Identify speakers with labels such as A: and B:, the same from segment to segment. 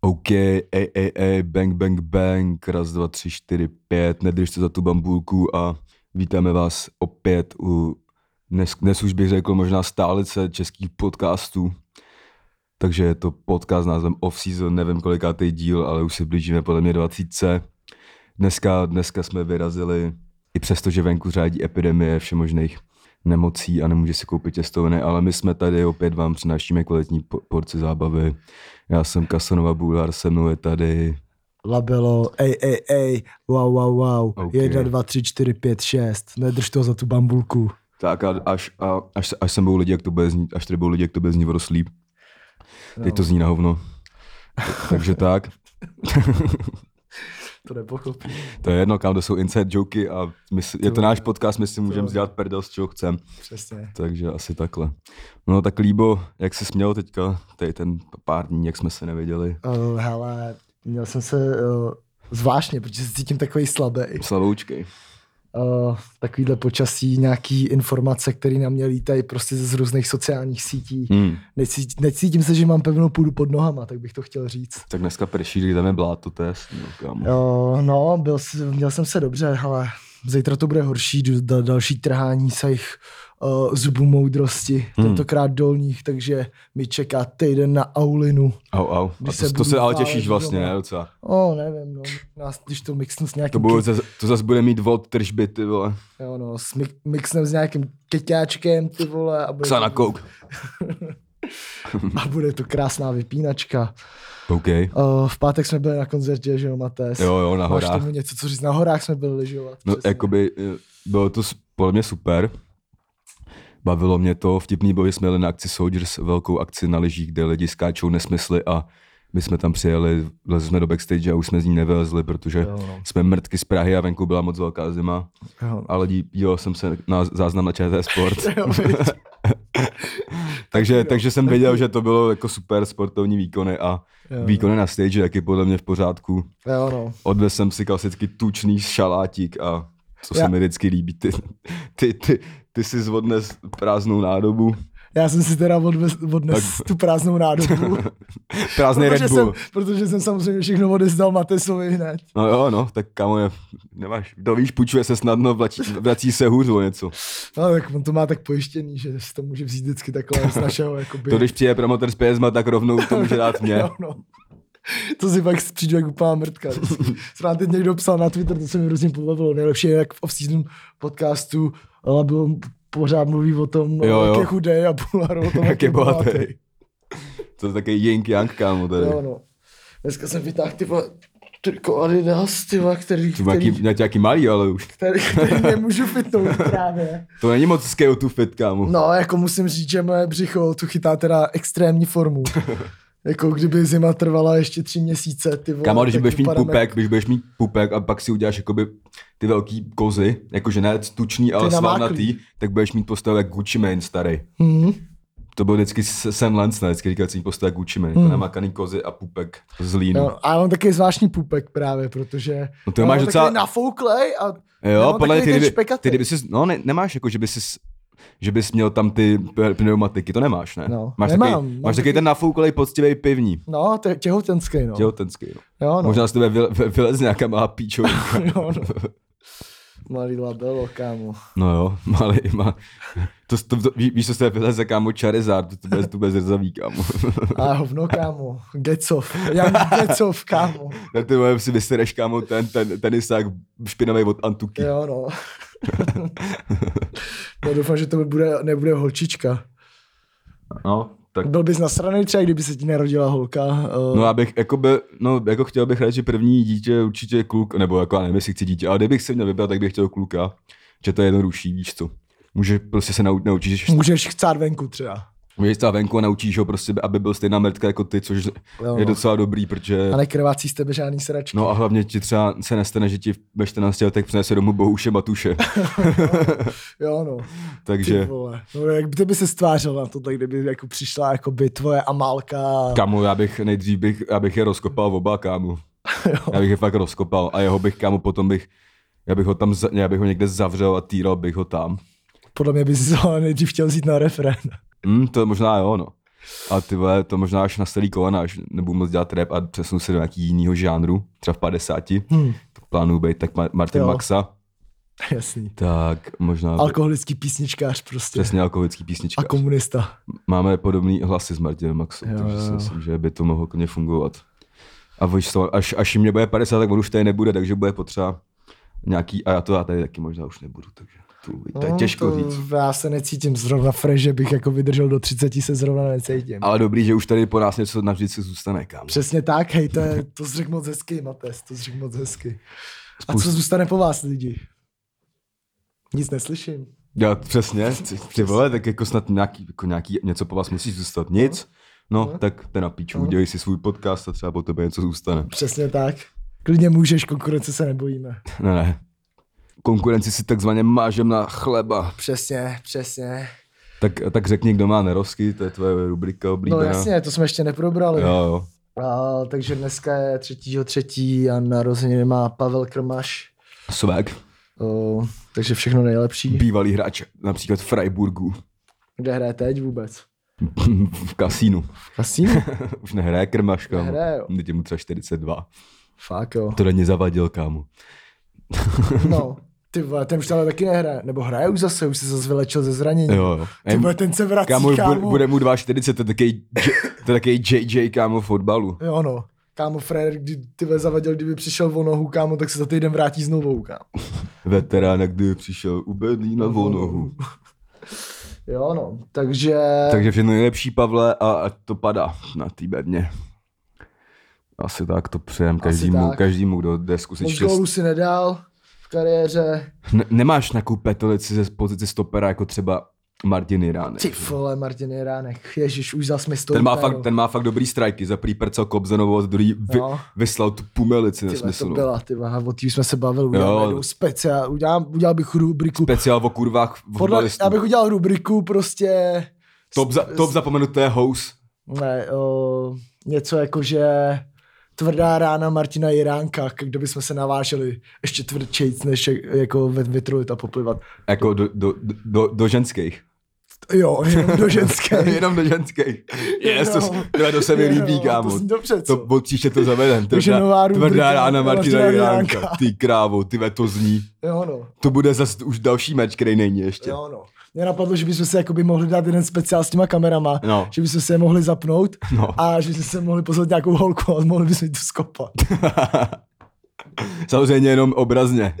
A: OK, ej, ej, ej, bang, bang, bang, raz, dva, tři, čtyři, pět, nedrž se za tu bambulku a vítáme vás opět u, dnes, dnes už bych řekl možná stálice českých podcastů, takže je to podcast s názvem Off Season, nevím kolikátý díl, ale už se blížíme podle mě 20. Dneska, dneska jsme vyrazili, i přesto, že venku řádí epidemie všemožných nemocí a nemůže si koupit těstoviny, ale my jsme tady opět vám přinášíme kvalitní po- porci zábavy. Já jsem Kasanova Bulhar, se mnou je tady
B: labelo, ej, ej, ej, wow, wow, wow,
A: OK.
B: jedna, dva, tři, čtyři, pět, šest, nedrž to za tu bambulku.
A: tak a až, a, až, až sem budou lidi, jak to bude znít, až tady budou lidi, jak to bude znít v roslí. Teď to zní na hovno. Takže tak.
B: To nepochopí.
A: To je jedno, kam to jsou inside joky a my si, je to náš podcast, my si můžeme
B: vole.
A: dělat prdel z čeho chcem.
B: Přesně.
A: Takže asi takhle. No tak Líbo, jak jsi měl teďka, tady ten pár dní, jak jsme se neviděli.
B: Uh, hele, měl jsem se uh, zvláštně, protože se cítím takový slabý.
A: Slavoučkej.
B: Uh, takovýhle počasí, nějaký informace, které na mě lítají prostě z různých sociálních sítí.
A: Hmm.
B: Necítím, necítím se, že mám pevnou půdu pod nohama, tak bych to chtěl říct.
A: Tak dneska prší, když jdeme bláto, to je jasný, no, kámo.
B: Jo, no, byl, s- měl jsem se dobře, ale zítra to bude horší, jdu da, další trhání se jich uh, zubů moudrosti,
A: Hmm.
B: hmm. tentokrát dolních, takže mi čeká týden na Aulinu.
A: Au, au. A to,
B: Když
A: se
B: se
A: to se
B: budu
A: ale
B: válet
A: těšíš vlastně,
B: doma.
A: ne, docela.
B: O, oh, nevím, no, nás, když to mixnu s
A: To,
B: nějakým,
A: bude, zas- to zase bude mít vod tržby, ty vole.
B: ke, jo, no, s mi, mixnem s nějakým keťáčkem, ty vole, a bude,
A: Ksa na
B: to,
A: kouk.
B: a bude to krásná vypínačka.
A: OK.
B: Uh, v pátek jsme byli na koncertě, že jo, Matés?
A: Jo, jo, na
B: Máš
A: horách.
B: tomu něco, co říct, na horách jsme byli lyžovat.
A: No,
B: přesně.
A: jakoby eh, bylo to s- podle mě super. Bavilo mě to. Vtipný bylo, že jsme jeli na akci Soldiers, velkou akci na lyžích, kde lidi skáčou nesmysly a my jsme tam přijeli, vlezli jsme do backstage a už jsme z ní nevylezli, protože
B: Jo, no.
A: jsme mrtky z Prahy a venku byla moc velká zima.
B: Jo. no.
A: Ale dí- díval jsem se na záznam na ČT Sport.
B: Jo, viď? No.
A: takže, takže jsem věděl, že to bylo jako super sportovní výkony a
B: Jo.
A: výkony na stage taky podle mě v pořádku.
B: jo, no.
A: Odvez jsem si klasicky tučný šalátík a co se
B: Já-
A: mi vždycky líbí, ty, ty, ty, ty si zvodnes prázdnou nádobu,
B: Já jsem si teda odvez, odnes
A: Tak-
B: tu prázdnou nádobu,
A: prázdný
B: protože,
A: Red Bull.
B: jsem, protože jsem samozřejmě všechno odezdal Matesovi hned.
A: No jo, no, tak kamo, je, nemáš, dovíš, půjčuje se snadno, vlačí, vrací se hůř o něco.
B: No tak on to má tak pojištěný, že si to může vzít vždycky takhle z našeho jakoby.
A: To, když přijde promotor z PSMA, tak rovnou to může dát mě.
B: jo, no. To si pak přijdu jak úplná mrtka. Co nám teď někdo psal na Twitter, to se mi hrozně pobavilo. Nejlepší je, jak v off-season podcastu Labo pořád mluví o tom,
A: Jo, jo.
B: jak je chudej a Bulhar o tom,
A: Jak je bohatý. To je taky jink yang, kámo, tady.
B: Jo, no. Dneska jsem vytáhl ty vole, triko Adidas, ty vole, který,
A: Ty má
B: který,
A: jaký, nějaký malý, ale už.
B: který, který nemůžu fitnout právě.
A: To není moc scale to fit, kámo.
B: No, jako musím říct, že moje břicho tu chytá teda extrémní formu. Jako kdyby zima trvala ještě tři měsíce, ty vole.
A: Kámo, když
B: tak
A: budeš mít
B: vypadáme-
A: pupek, když budeš mít pupek a pak si uděláš jakoby ty velký kozy, jakože ne tuční, ale
B: Ty namáklý.
A: svalnatý, tak budeš mít postavu jak Gucci Mane starý.
B: Hmm.
A: To byl vždycky Sam Lansna, vždycky říkal, že postavu jak Gucci Mane, hmm. to namakaný kozy a pupek z línu. Jo,
B: No, a on taky zvláštní pupek právě, protože...
A: No to
B: on
A: máš
B: má
A: docela-
B: takový Nafouklej a...
A: jo
B: on
A: podle mě,
B: takový
A: ty,
B: ten
A: kdyby, ty
B: špekatý.
A: kdyby jsi, no ne, nemáš jako, že by jsi že bys měl tam ty p- pneumatiky, to nemáš, ne?
B: No,
A: máš
B: nemám,
A: takový,
B: mám
A: máš takový ten nafouklej poctivý pivní,
B: No, to je těhotenský, no.
A: těhotenský. No.
B: Jo, no.
A: Možná z tebe vyle- vy- vyleze nějaká malá píčovinka.
B: jo, no. Malý labelo, kámo.
A: No jo, malý, má. To, to, to, ví, víš, co se vyleze, kámo, Charizard, to, to bez, to bez zrzavý, kámo.
B: A hovno, kámo. Gecov. Já Gecov, kámo.
A: Na ty vole si vysereš, kámo, ten, ten tenisák špinavý od Antuky.
B: Jo, no. no doufám, že to bude, nebude holčička.
A: No, tak.
B: Byl bys nasraný třeba, kdyby se ti narodila holka. Uh,
A: No, abych, jako by, no, jako chtěl bych radši první dítě určitě kluk, nebo jako, já nevím, jestli chci dítě, ale kdybych si měl vybrat, tak bych chtěl kluka, že to je jednodušší, víš co. Může prostě se naučit, naučíš, že
B: Můžeš chcát venku třeba.
A: můžeš stát venku a naučíš ho prostě, aby byl stejná mrtka jako ty, což
B: Jo,
A: je
B: no.
A: docela dobrý, protože...
B: A nekrvácí z tebe žádný sračky.
A: No a hlavně ti třeba se nestane, že ti ve 14 letech přinese domů Bohuše Matuše.
B: Jo, no. Ty
A: Takže
B: vole. No, jak by ty by se stvářil na to, tak kdyby jako přišla jako by tvoje Amálka.
A: kamu, já bych nejdřív bych, já bych je rozkopal oba kámu. Já bych je fakt rozkopal a jeho bych kámu potom bych, já bych ho tam, za- já bych ho někde zavřel a týral bych ho tam.
B: Podle mě bys ho nejdřív chtěl vzít na refren.
A: Hm, to možná jo, no. A ty vole, to možná až na starý kolena, až nebudu moc dělat rap a přesunu se do nějaký jinýho žánru, třeba v 50.
B: Hm,
A: To plánuju být tak Ma- Martin
B: Jo.
A: Maxa,
B: jasný.
A: No, tak možná
B: Alkoholický písničkář prostě.
A: přesně alkoholický písnička.
B: A komunista.
A: Máme podobný hlasy s Martinem Maxem,
B: Jo,
A: jo, takže
B: jo,
A: si
B: jo.
A: myslím, že by to mohlo klidně fungovat. A víš co, až, až jim mě bude 50, tak on už tady nebude, takže bude potřeba nějaký, a já to já tady taky možná už nebudu, takže to, to je
B: No,
A: těžko
B: to
A: říct.
B: Já se necítím zrovna fresh, že bych jako vydržel do 30, se zrovna necítím.
A: Ale dobrý, že už tady po nás něco navždycky zůstane, kámo.
B: Přesně tak, hej, to, je, to jsi řekl moc hezky, Mates, to jsi řekl moc hezky. A
A: Spousta-
B: co zůstane po vás, lidi? Nic neslyším.
A: Já, přesně, ty, ty vole, tak jako snad nějaký, jako nějaký, něco po vás musí zůstat, nic. No,
B: No.
A: tak ten na píču,
B: No.
A: udělej si svůj podcast a třeba po tebe něco zůstane.
B: Přesně tak. Klidně můžeš, konkurence se nebojíme.
A: Ne, ne. Konkurenci si takzvaně mážem na chleba.
B: Přesně, přesně.
A: Tak, tak řekni, kdo má nerosky, to je tvoje rubrika
B: No
A: oblíbená.
B: jasně, to jsme ještě neprobrali.
A: Jo, jo.
B: A, takže dneska je 3.3. a narozeniny má Pavel Krmaš.
A: Svek,
B: O, takže všechno nejlepší.
A: bývalý hráč například Freiburgu
B: Kde hraje teď vůbec?
A: v kasínu.
B: V kasínu?
A: Už nehraje krmaš, kámo.
B: Nehraje, jo.
A: Teď je mu třeba 42.
B: Fakt jo.
A: To není zavadil, kámo.
B: No, ty vole, ten už ale taky nehraje. Nebo hraje už zase, už se zase vylečil ze zranění.
A: Jo, jo.
B: Ty vole, ten se vrací,
A: Kámo,
B: kámo.
A: už bude, bude mu 2,40, to je takový to je takový JJ, kámo, fotbalu.
B: Jo, no. Kámo, Frér, kdy ty vole zavadil, kdyby přišel o nohu, kámo, tak se za týden vrátí s novou, kámo.
A: Veterán, kdy přišel u Berlína volnohu.
B: Jo, no. Takže...
A: Takže všechno nejlepší, Pavle, a ať to padá na té bedně. Asi tak to přejem každému,
B: tak.
A: každému, kdo jde zkusit
B: Moc
A: štěstí.
B: gólů si nedal v kariéře.
A: Ne- nemáš nějakou petolici ze pozice stopera, jako třeba Martin Jiránek.
B: Ty vole, Martin Jiránek. Ježiš, už zas mi stoupá. no.
A: Ten má, fakt, ten má fakt dobrý strajky, za prý percel Kobzenovo, za druhý vy,
B: No.
A: vyslal tu pumelici
B: Ty vole, to
A: nesmysl. no.
B: byla, ty vole, o tý už jsme se bavili, uděláme jednou speciál, udělám, udělal bych rubriku.
A: Speciál o kurvách v
B: Podle,
A: fotbalistů.
B: já bych udělal rubriku prostě...
A: Top, za, top zapomenuté house.
B: Ne, o, něco jako, že tvrdá rána Martina Jiránka, k- kdo bychom se naváželi ještě tvrdčejc, než jak- jako ve- vytrulit a poplivat.
A: Jako do, do, do, do ženských.
B: Jo, jenom do ženské.
A: Jenom do ženských. Yes, to,
B: Jenom.
A: to, to se mi líbí,
B: Jo,
A: kámo.
B: To jsem dobře,
A: To,
B: co?
A: od příště to zavedem.
B: Takže nová
A: Tvrdá,
B: rubrika
A: tvrdá rána Martina
B: Martina
A: Jiránka.
B: Jiránka.
A: Ty krávo, ty ve, to zní.
B: Jo, no.
A: To bude zase už další meč, který není ještě.
B: Jo, no. Mě napadlo, že bychom se jakoby mohli dát jeden speciál s těma kamerama,
A: No.
B: že bychom se je mohli zapnout
A: No.
B: a že bychom se mohli pozvat nějakou holku a mohli bychom jí tu skopat.
A: Samozřejmě jenom obrazně.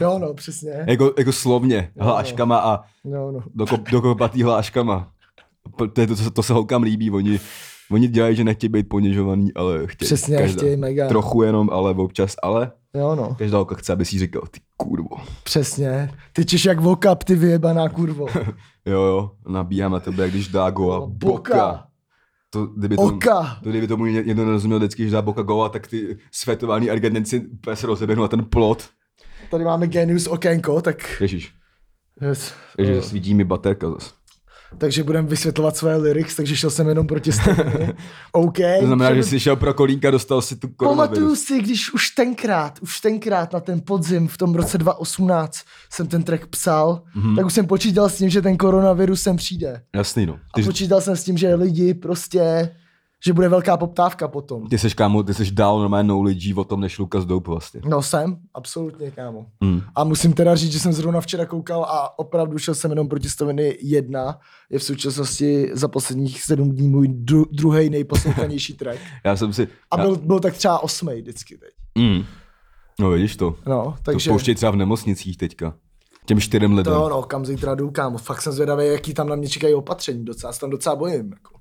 B: Jo, no, přesně.
A: Jako, jako slovně,
B: Jo.
A: hláškama a
B: Jo, no.
A: dokop, dokopatý hláškama. P- To, je to, co- to se holkám líbí, oni, oni dělají, že nechtějí být ponižovaný, ale chtějí.
B: Přesně, chtějí mega.
A: Trochu jenom, ale občas, ale
B: Jo, no.
A: každá holka chce, aby si říkal, ty kurvo.
B: Přesně. Ty češ jak vokap, ty vyjebaná kurvo.
A: Jo, jo, nabíhám na tebe, jak když dá goa. Boka. To, kdyby to,
B: Oka.
A: to, kdyby tomu ně- někdo nerozuměl vždycky, když dá boka goa, tak ty světovaný Argentinci úplně se rozeběhnou na ten plot.
B: Tady máme genius okénko, tak...
A: Ježíš,
B: Yes.
A: ježíš,
B: Eh,
A: svítí mi baterka zase.
B: Takže budem vysvětlovat své lyrics, takže šel jsem jenom proti stejně. OK.
A: To znamená, že jsi šel pro kolínka, dostal si tu
B: Pamatuju
A: koronavirus.
B: si, když už tenkrát, už tenkrát na ten podzim v tom roce 2018 jsem ten track psal,
A: Mhm.
B: mm-hmm. tak už jsem počítal s tím, že ten koronavirus sem přijde.
A: Jasný, no.
B: A
A: Ty,
B: počítal jsem s tím, že lidi prostě, že bude velká poptávka potom.
A: Ty seš, kámo, ty seš dál normálně no lidí o tom, než Lukas Doup vlastně.
B: No jsem, absolutně, kámo.
A: Mm.
B: A musím teda říct, že jsem zrovna včera koukal a opravdu šel jsem jenom proti stoviny jedna. Je v současnosti za posledních sedm dní můj dru- druhý nejposlouchanější track.
A: Já jsem si...
B: A
A: já,
B: byl, byl tak třeba osmý vždycky teď.
A: mm. No vidíš to.
B: No,
A: Takže...
B: takže...
A: To pouštějí třeba v nemocnicích teďka. Těm čtyřem lidem.
B: To jo, no, kam zítra jdu, kámo. Fakt jsem zvědavý, jaký tam na mě čekají opatření. Docela se tam docela bojím. Jako.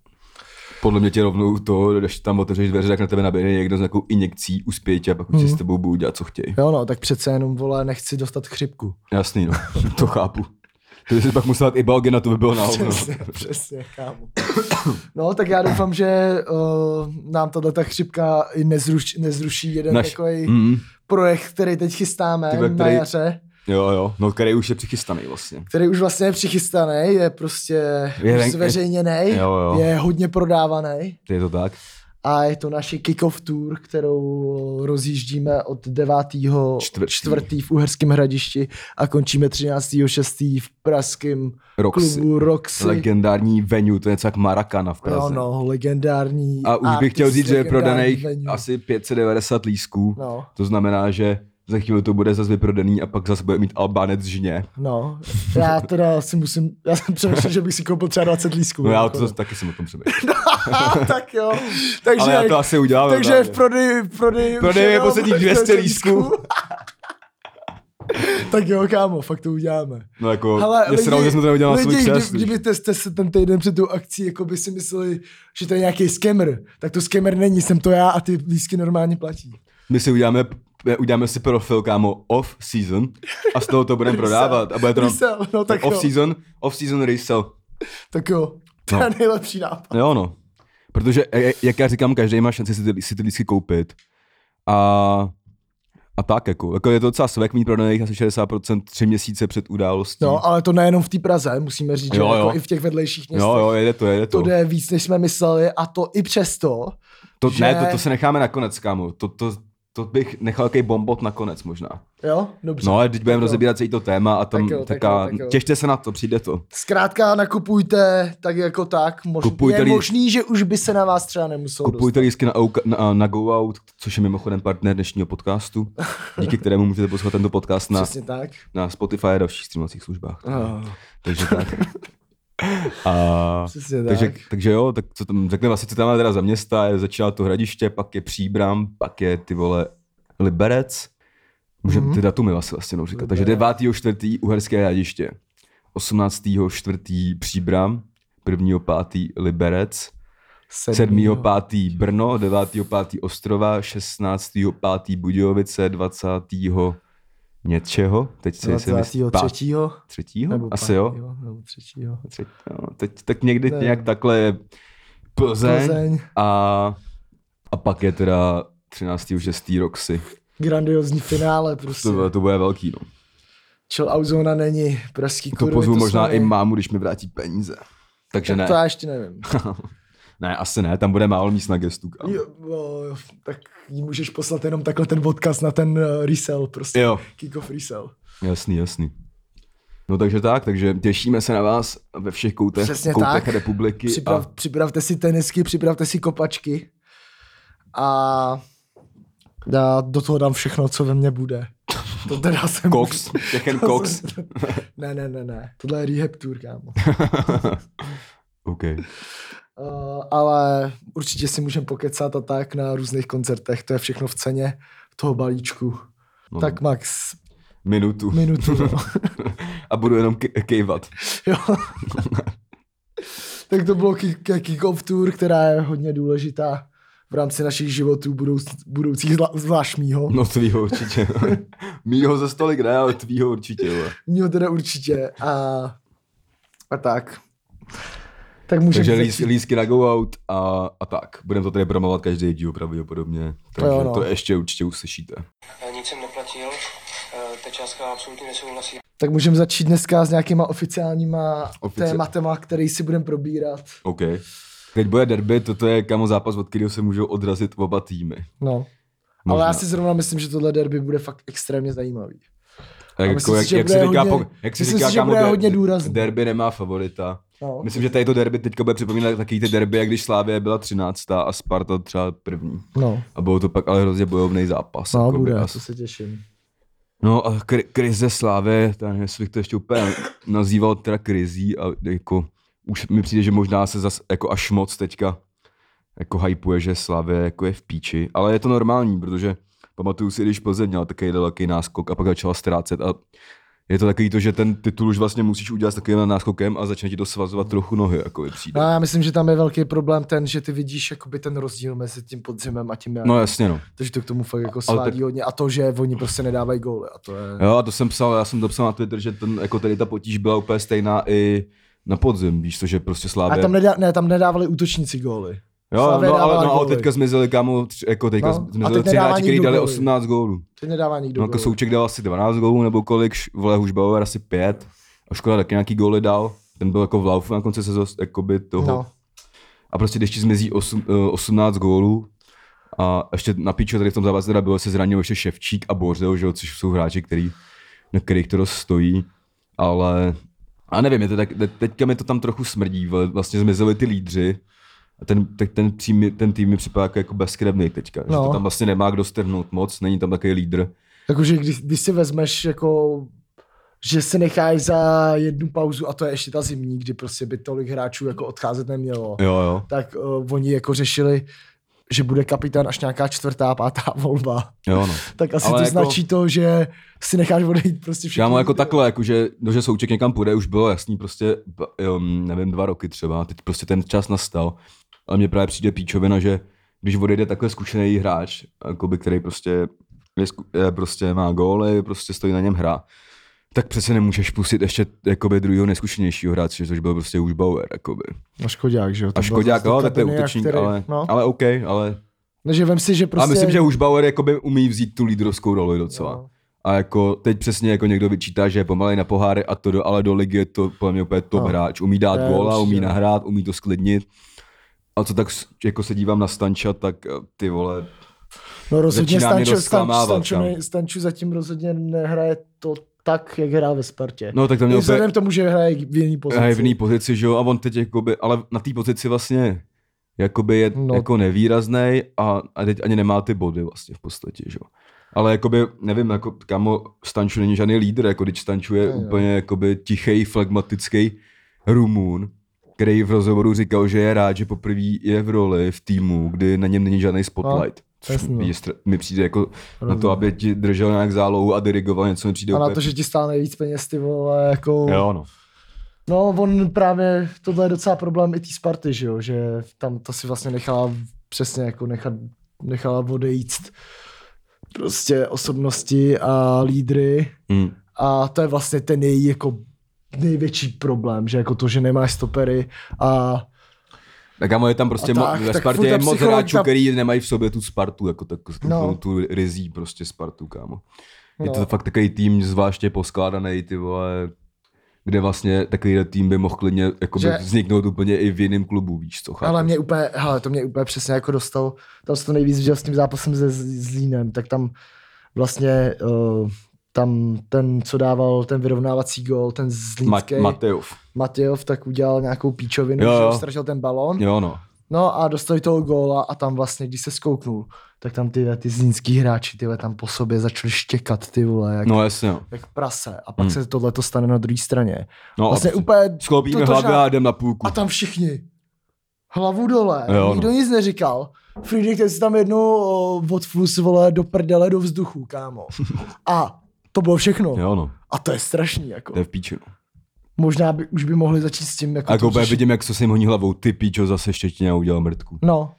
A: Podle mě tě rovnou to, když tam otevřeš dveře, tak na tebe naběhne někdo s nějakou injekcí, uspěje tě a pak už
B: Mhm.
A: si s tebou budou dělat, co chtějí.
B: Jo, no, tak přece jenom, vole, nechci dostat chřipku.
A: Jasný, no. to chápu. To by si pak musel dát i balgy na to by bylo no. na hovno.
B: Přesně, přesně, kámo. No, tak já doufám, že uh, nám tahle ta chřipka i nezruš, nezruší jeden
A: Naš-
B: Naš... takový
A: Mm.
B: projekt, který teď chystáme
A: Ty ve
B: na
A: který-
B: jaře,
A: Jo, jo. No, který už je přichystaný vlastně.
B: který už vlastně je přichystaný, je prostě
A: Je
B: je
A: ven-
B: zveřejněný,
A: Jo, jo.
B: je hodně prodávaný
A: Je to tak?
B: a a je to naše kick-off tour, kterou eh, rozjíždíme od 9.
A: Čtvrtý.
B: čtvrtý v Uherském hradišti a končíme 13. 6. v pražském
A: Roxy.
B: klubu Roxy.
A: Legendární venue, to je něco jak Marakana v Praze.
B: No, no, legendární.
A: A už bych
B: artist,
A: chtěl říct, že je prodaných
B: legendární venue.
A: asi 590 lísků.
B: No,
A: To znamená, že za chvíli to bude zase vyprodaný a pak zase bude mít Albánec žně.
B: no. Já teda si musím, já jsem přemýšlel, že bych si koupil třeba 20 lísků.
A: No já
B: jako,
A: to
B: no.
A: zase taky jsem o tom přemýšlel.
B: tak jo. Takže,
A: Ale já to asi udělám.
B: takže v prodeji... v prodeji
A: Prodejme
B: už jenom
A: posledních 200 lístků.
B: tak jo, kámo, fakt to uděláme.
A: No jako, Hele, já se rád, že jsem to neudělal na svůj
B: lidi,
A: křest.
B: kdy- kdybyste jste se ten týden před tou akcí jako by si mysleli, že to je nějaký skemer, tak to skemer není, jsem to já a ty lísky normálně platí.
A: My si uděláme, uděláme si profil, kámo, off season a z toho to budeme prodávat. A bude to na-
B: Resell, no tak
A: off
B: jo,
A: season, off season resell.
B: tak jo, to
A: No.
B: je nejlepší nápad.
A: Jo no. Protože, e- e- jak já říkám, každý má šanci si ty, si ty lístky koupit. A, a tak jako, jako je to docela svek mít prodaných asi 60% tři měsíce před událostí.
B: No, ale to nejenom v té Praze, musíme říct, že
A: Hmm. Jo, jo.
B: jako i v těch vedlejších městech.
A: jo, jo, jede to, jede to.
B: to jde víc, než jsme mysleli a to i přesto,
A: to
B: že-
A: Ne, to, to se necháme nakonec, kámo. To, to, to bych nechal jaký bombot nakonec možná.
B: jo, dobře.
A: No ale teď budeme
B: Tak jo.
A: rozebírat celý to téma a tam
B: Tak jo, tak
A: taká,
B: jo, tak jo.
A: těšte se na to, přijde to.
B: Zkrátka nakupujte tak jako tak. Mož...
A: Kupujte
B: je
A: lidi-
B: možný, že už by se na vás třeba nemuselo
A: Kupujte lístky na, Ouka- na, na Go Out, což je mimochodem partner dnešního podcastu, díky kterému můžete poslouchat tento podcast
B: dostat.
A: na,
B: Přesně tak.
A: na Spotify a dalších streamovacích službách.
B: No,
A: Takže tak. A,
B: přesně tak.
A: takže, takže jo, tak co tam, řekneme asi, co tam máme teda za města, je, začíná to hradiště, pak je Příbram, pak je ty vole Liberec, můžeme
B: Mhm.
A: mm-hmm. ty datumy asi vlastně no, říkat, takže 9.
B: Liberec.
A: 4. Uherské hradiště, 18. 4. Příbram, 1. 5. Liberec, 7. 5. Brno, 9. 5. Ostrova, 16. 5. Budějovice, 20. něčeho, teď si nejsem jistý,
B: 23.
A: třetího?
B: Nebo
A: No, Asi jo,
B: pátýho, Nebo třetího.
A: Třetí, no, teď, tak někdy
B: Ne.
A: ne. nějak takhle je Plzeň, Plzeň.
B: Plzeň,
A: A, a pak je teda 13. už je Stý Roxy.
B: grandiozní finále prostě.
A: To, bude- to bude velký, no.
B: Chill out zóna není, pražský
A: To
B: kurvy.
A: pozvu možná
B: jsou-
A: i mámu, když mi vrátí peníze. Takže ne.
B: To já ještě nevím.
A: Ne, asi ne, tam bude málo míst na gestu. kámo.
B: Jo, no, tak jí můžeš poslat jenom takhle ten odkaz na ten eh, resell prostě.
A: Jo.
B: Kickoff resell.
A: Jasný, jasný. No takže tak, takže těšíme se na vás ve všech koutech,
B: Přesně
A: koutech
B: tak.
A: republiky.
B: Připrav,
A: A
B: Připravte si tenisky, připravte si kopačky a já do toho dám všechno, co ve mně bude. To teda jsem...
A: Cox, všechen
B: to
A: Cox.
B: jsem- Ne, ne, ne, ne. Tohle je rehab tour, kámo.
A: OK.
B: Uh, ale určitě si můžeme pokecat a tak na různých koncertech. To je všechno v ceně toho balíčku.
A: No,
B: Tak max
A: Minutu.
B: minutu. No.
A: A budu jenom ke- kejvat.
B: Jo. tak to bylo kick- kick-off tour, která je hodně důležitá v rámci našich životů budouc, budoucích, zla, zvlášť mýho.
A: No tvýho určitě. Mýho ze stolik ne, ale tvýho určitě. Vole.
B: Mýho teda určitě. A, a tak. Tak můžeme
A: Takže
B: začít.
A: líst, lístky na go out a, a tak. Budeme to tady promovat každý díl pravděpodobně. Takže
B: jo,
A: jo,
B: no.
A: no. to ještě určitě uslyšíte.
C: Eh, nic jsem neplatil, eh, ta částka absolutně nesouhlasí.
B: Tak můžeme začít dneska s nějakýma oficiálníma
A: Ofici-
B: tématama, který si budeme probírat.
A: OK. Teď bude derby, toto je kamo zápas, od kterého se můžou odrazit oba týmy.
B: No. Možná.
A: Možná.
B: Ale já si zrovna myslím, že tohle derby bude fakt extrémně zajímavý.
A: A
B: myslím si, že
A: jak,
B: bude
A: říká,
B: hodně-
A: po- jak se
B: myslím
A: říká
B: si, že
A: kámo,
B: bude
A: der-
B: hodně důrazný.
A: derby nemá favorita.
B: No.
A: Myslím, že tady to derby teďka bude připomínat taky ty derby, jak když Slávě byla 13. a Sparta třeba první.
B: No,
A: A bylo to pak ale hrozně bojovný zápas.
B: no
A: jakoby,
B: bude,
A: a
B: to se těším.
A: No a kri- krize slávy, ta nevím, jestli bych to ještě úplně nazýval teda krizí a jako už mi přijde, že možná se zas jako až moc teďka jako hypuje, že Slávě jako je v píči, ale je to normální, protože pamatuju si, když Plzeň měla takový daleký náskok a pak začala ztrácet a je to takový to, že ten titul už vlastně musíš udělat s takovým náskokem a začne ti to svazovat trochu nohy, jako je přijde.
B: No já myslím, že tam je velký problém ten, že ty vidíš jakoby ten rozdíl mezi tím podzimem a tím jarem.
A: No jasně no.
B: Takže to k tomu fakt jako
A: Ale
B: svádí
A: tak-
B: hodně. A to, že oni prostě nedávají góly. A to je...
A: Jo, a to jsem psal, já jsem to psal na Twitter, že ten, jako tady ta potíž byla úplně stejná i na podzim, víš co, že prostě
B: A
A: Slávě...
B: tam, nedá, ne, tam nedávali útočníci góly.
A: Jo,
B: Slavia
A: no, ale,
B: dávala
A: no, ale
B: góly.
A: teďka zmizeli kámo, tři, jako teďka
B: No,
A: no,
B: a teď
A: zmizeli tři
B: nedává
A: hráči, kteří
B: nikdo
A: dali
B: góly.
A: 18 gólů.
B: Teď nedává nikdo
A: No, jako
B: góly.
A: Souček dal asi 12 gólů nebo kolik, Š- vole Hušbauer asi 5 a Škoda taky nějaký góly dal. Ten byl jako v laufu na konci sezóny, jakoby toho.
B: No.
A: No. a prostě když ti zmizí osm, eh, 18 gólů a ještě na píču tady v tom zápase teda bylo se zranil ještě Ševčík a Bořil, že jo, což jsou hráči, který, na kterých to dost stojí, ale a nevím, je to tak, te- teďka mi to tam trochu smrdí, vole, vlastně zmizeli ty lídři a ten, tak ten, tým, ten tým mi připadá jako, jako bezkrevný teďka, no. že
B: No.
A: to tam vlastně nemá kdo strhnout moc, není tam takový lídr.
B: Jakože když, když si vezmeš jako že se necháš za jednu pauzu a to je ještě ta zimní, kdy prostě by tolik hráčů jako odcházet nemělo.
A: Jo, jo.
B: Tak uh, oni jako řešili, že bude kapitán až nějaká čtvrtá, pátá volba.
A: Jo, no.
B: Tak asi
A: Ale
B: Ale to
A: jako-
B: jako... značí to, že si necháš odejít prostě všechny.
A: Já mám jako takhle, jako že, no, že souček někam půjde, už bylo jasný prostě, b- um, nevím, dva roky třeba, teď prostě ten čas nastal. Ale mně právě přijde píčovina, že když odejde takhle zkušený hráč, jakoby, který prostě, je, zku- je, prostě má góly, prostě stojí na něm hra, tak přece nemůžeš pustit ještě jakoby druhého neskušenějšího hráče, což byl prostě už Bauer. Jakoby.
B: No škodák, že jo?
A: A
B: to byl
A: Škodák,
B: zase
A: jo, tak to je
B: Katania,
A: útočník,
B: který-
A: ale,
B: No.
A: ale OK, ale
B: Takže vem si, že
A: prostě...
B: prostě...
A: A myslím, že už Bauer jakoby umí vzít tu lídrovskou roli docela.
B: Jo.
A: A jako teď přesně jako někdo vyčítá, že je pomalej na poháry a to, do, ale do ligy je to podle mě úplně top
B: No.
A: hráč. Umí dát
B: To je
A: góla, umí
B: určitě.
A: nahrát, umí to sklidnit. A co tak s- jako se dívám na Stanča, tak eh, ty vole,
B: No rozhodně
A: začíná mě
B: Stančo,
A: dost
B: Stančo,
A: zklamávat,
B: Stančo,
A: no.
B: ne, Stanču zatím rozhodně nehraje to tak, jak hrál ve Spartě.
A: no tak to
B: I
A: měl úplně
B: vzhledem k tomu, že hraje v jiný pozici.
A: hejvný pozici, že jo, a on teď jakoby, ale na té pozici vlastně jakoby je no.
B: No.
A: jako nevýrazný a, a teď ani nemá ty body vlastně v podstatě, že jo. Ale jakoby, nevím, jako kamo, Stanču není žádný lídr, jako když Stanču je
B: Ne, ne.
A: úplně jakoby tichý, flegmatický Rumun, který v rozhovoru říkal, že je rád, že poprvé je v roli v týmu, kdy na něm není žádný spotlight. což
B: jasně, no.
A: mi, str- mi přijde jako na to,
B: Rozumím.
A: aby ti držel nějak zálohu a dirigoval něco, mi přijde
B: A na
A: úplně-
B: to, že ti stále nejvíc peněz, ty vole, jako...
A: Jo, no.
B: No, on právě, tohle je docela problém i té Sparty, že jo, že tam to si vlastně nechala přesně jako nechat, nechala odejít prostě osobnosti a lídry
A: Mm.
B: a to je vlastně ten její jako největší problém, že jako to, že nemáš stopery a
A: Tak a je tam prostě
B: A
A: mo-
B: tak,
A: ve
B: tak
A: Spartě
B: furt ta
A: je moc
B: psychologika-
A: hráčů, který nemají v sobě tu Spartu, jako tak, no.
B: No.
A: tu rizí prostě Spartu, kámo. Je no. to
B: No.
A: fakt takový tým zvláště poskládaný, ty vole, kde vlastně takový tým by mohl klidně jakoby,
B: Že-
A: vzniknout úplně i v jiném klubu, víš co, chápeš?
B: Ale mě úplně, hele, to mě úplně přesně jako dostalo. Tam se to nejvíc viděl s tím zápasem se Z- Zlínem, tak tam vlastně uh, tam ten, co dával ten vyrovnávací gol, ten zlínský
A: Ma-
B: Mat-
A: Matejov.
B: Matějov, tak udělal nějakou píčovinu,
A: Jo, jo.
B: že strašil ten balón.
A: Jo, no.
B: No a dostali toho góla a tam vlastně, když se skouknul, tak tam ty, ty zlínský hráči, tyhle tam po sobě začali štěkat, ty vole, jak, no.
A: No jasně, no.
B: jak prase. A pak
A: Hmm.
B: hmm. se tohle to stane na druhé straně.
A: no
B: Vlastně
A: a
B: úplně
A: Sklopíme
B: totožná-
A: hlavy a jdem na půlku.
B: a tam všichni. Hlavu dole.
A: Jo, no.
B: Jo, Nikdo nic neříkal. Friedrich ten si tam jednou o, odfus, vole, do prdele, do vzduchu, kámo. A to bylo všechno. Jo.
A: Jo, no.
B: A to je strašný, jako.
A: To je v píči, no.
B: Možná by, už by mohli začít s tím, jako
A: A jako
B: to
A: úplně
B: řešit.
A: vidím, jak se s ním honí hlavou, ty píčo, zase štětina udělal mrtku.
B: No,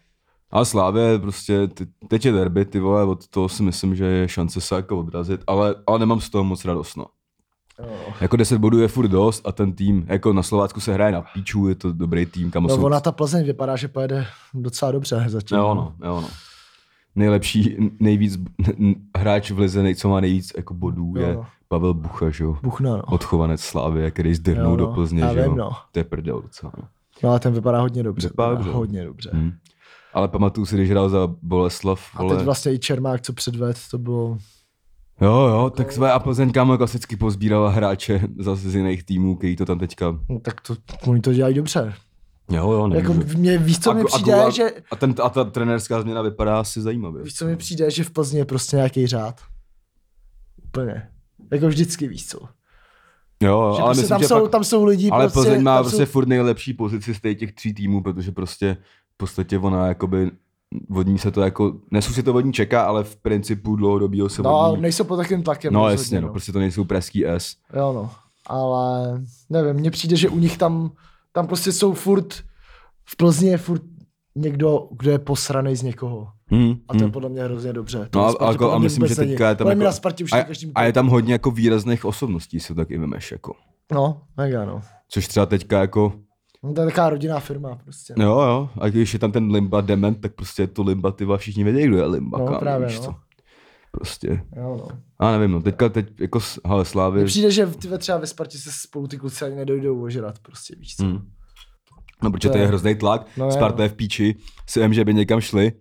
A: A Slávě prostě, te- teď je derby, ty vole, od toho si myslím, že je šance se jako odrazit, ale, ale nemám z toho moc radost, no.
B: Jo.
A: Jako 10 bodů je furt dost a ten tým, jako na Slovácku se hraje na píču, je to dobrý tým, kam
B: no
A: jsou...
B: ona ta Plzeň vypadá, že pojede docela dobře zatím.
A: Jo, no, jo, no. Nejlepší, nejvíc, hráč v lize, nej- co má nejvíc jako bodů,
B: Jo,
A: je
B: no.
A: Pavel Bucha, že jo.
B: Buchna, no.
A: Odchovanec Slávě, který zdrhnul
B: Jo,
A: do
B: no,
A: Plzně,
B: já
A: že jo.
B: vím, no.
A: To je prdel docela, no.
B: no. ale ten vypadá hodně dobře.
A: Vypadá
B: Vypadá
A: dobře.
B: hodně dobře.
A: Hm. Ale pamatuju si, když hrál za Boleslav,
B: A teď vlastně i Čermák, co předved, to bylo...
A: Jo, jo, tak své a Plzeň kámo klasicky pozbírala hráče zase z jiných týmů, který to tam teďka...
B: No, tak to, oni to dělají dobře.
A: Jo, jo,
B: Jako mě, víš, co mi přijde,
A: a,
B: že...
A: a, ten, a ta trenérská změna vypadá asi zajímavě.
B: Víš, co mi přijde, že v Plzni je prostě nějaký řád. Úplně. Jako vždycky, víš co.
A: Jo,
B: Že
A: No, ale
B: prostě
A: myslím,
B: tam,
A: že
B: jsou,
A: fakt,
B: tam jsou lidi,
A: ale
B: prostě,
A: Plzeň má
B: tam
A: prostě furt nejlepší pozici z těch tří týmů, protože prostě v podstatě ona jakoby od ní se to jako, nesu si to od ní čeká, ale v principu dlouhodobýho se
B: jsou, No,
A: od ní...
B: nejsou pod takovým tlakem.
A: No
B: rozhodně,
A: jasně, no, prostě to nejsou pražský S.
B: Jo, no. Ale nevím, mně přijde, že u nich tam, tam prostě jsou furt, v Plzni je furt někdo, kdo je posranej z někoho.
A: Hmm,
B: A to je
A: hmm.
B: podle mě hrozně dobře. To
A: No,
B: na
A: a,
B: Spartě
A: a,
B: podle
A: a
B: mě
A: myslím, že
B: vůbec není.
A: teďka je tam
B: Podle mě
A: jako,
B: na Spartě už
A: a,
B: je každý...
A: a je tam hodně jako výrazných osobností, si to tak i vymeš, jako.
B: No, mega, no.
A: Což třeba teďka jako,
B: No, to je taková rodinná firma prostě.
A: jo jo, a když je tam ten Limba dement, tak prostě je to Limba, ty vole, všichni vědí, kdo je Limba,
B: No,
A: kámo,
B: právě,
A: víš
B: no.
A: co. Prostě,
B: Jo, no.
A: a nevím, no, teďka teď jako, s- hele, Slávy,
B: Mně přijde, že ty ve- třeba ve Spartě se spolu ty kluci ani nedojdou ožrat, prostě víš co.
A: hm. No, protože
B: To
A: to je
B: je-
A: hrozný tlak.
B: no
A: No,
B: je,
A: Sparta
B: no.
A: je v píči, si vím, že by někam šli.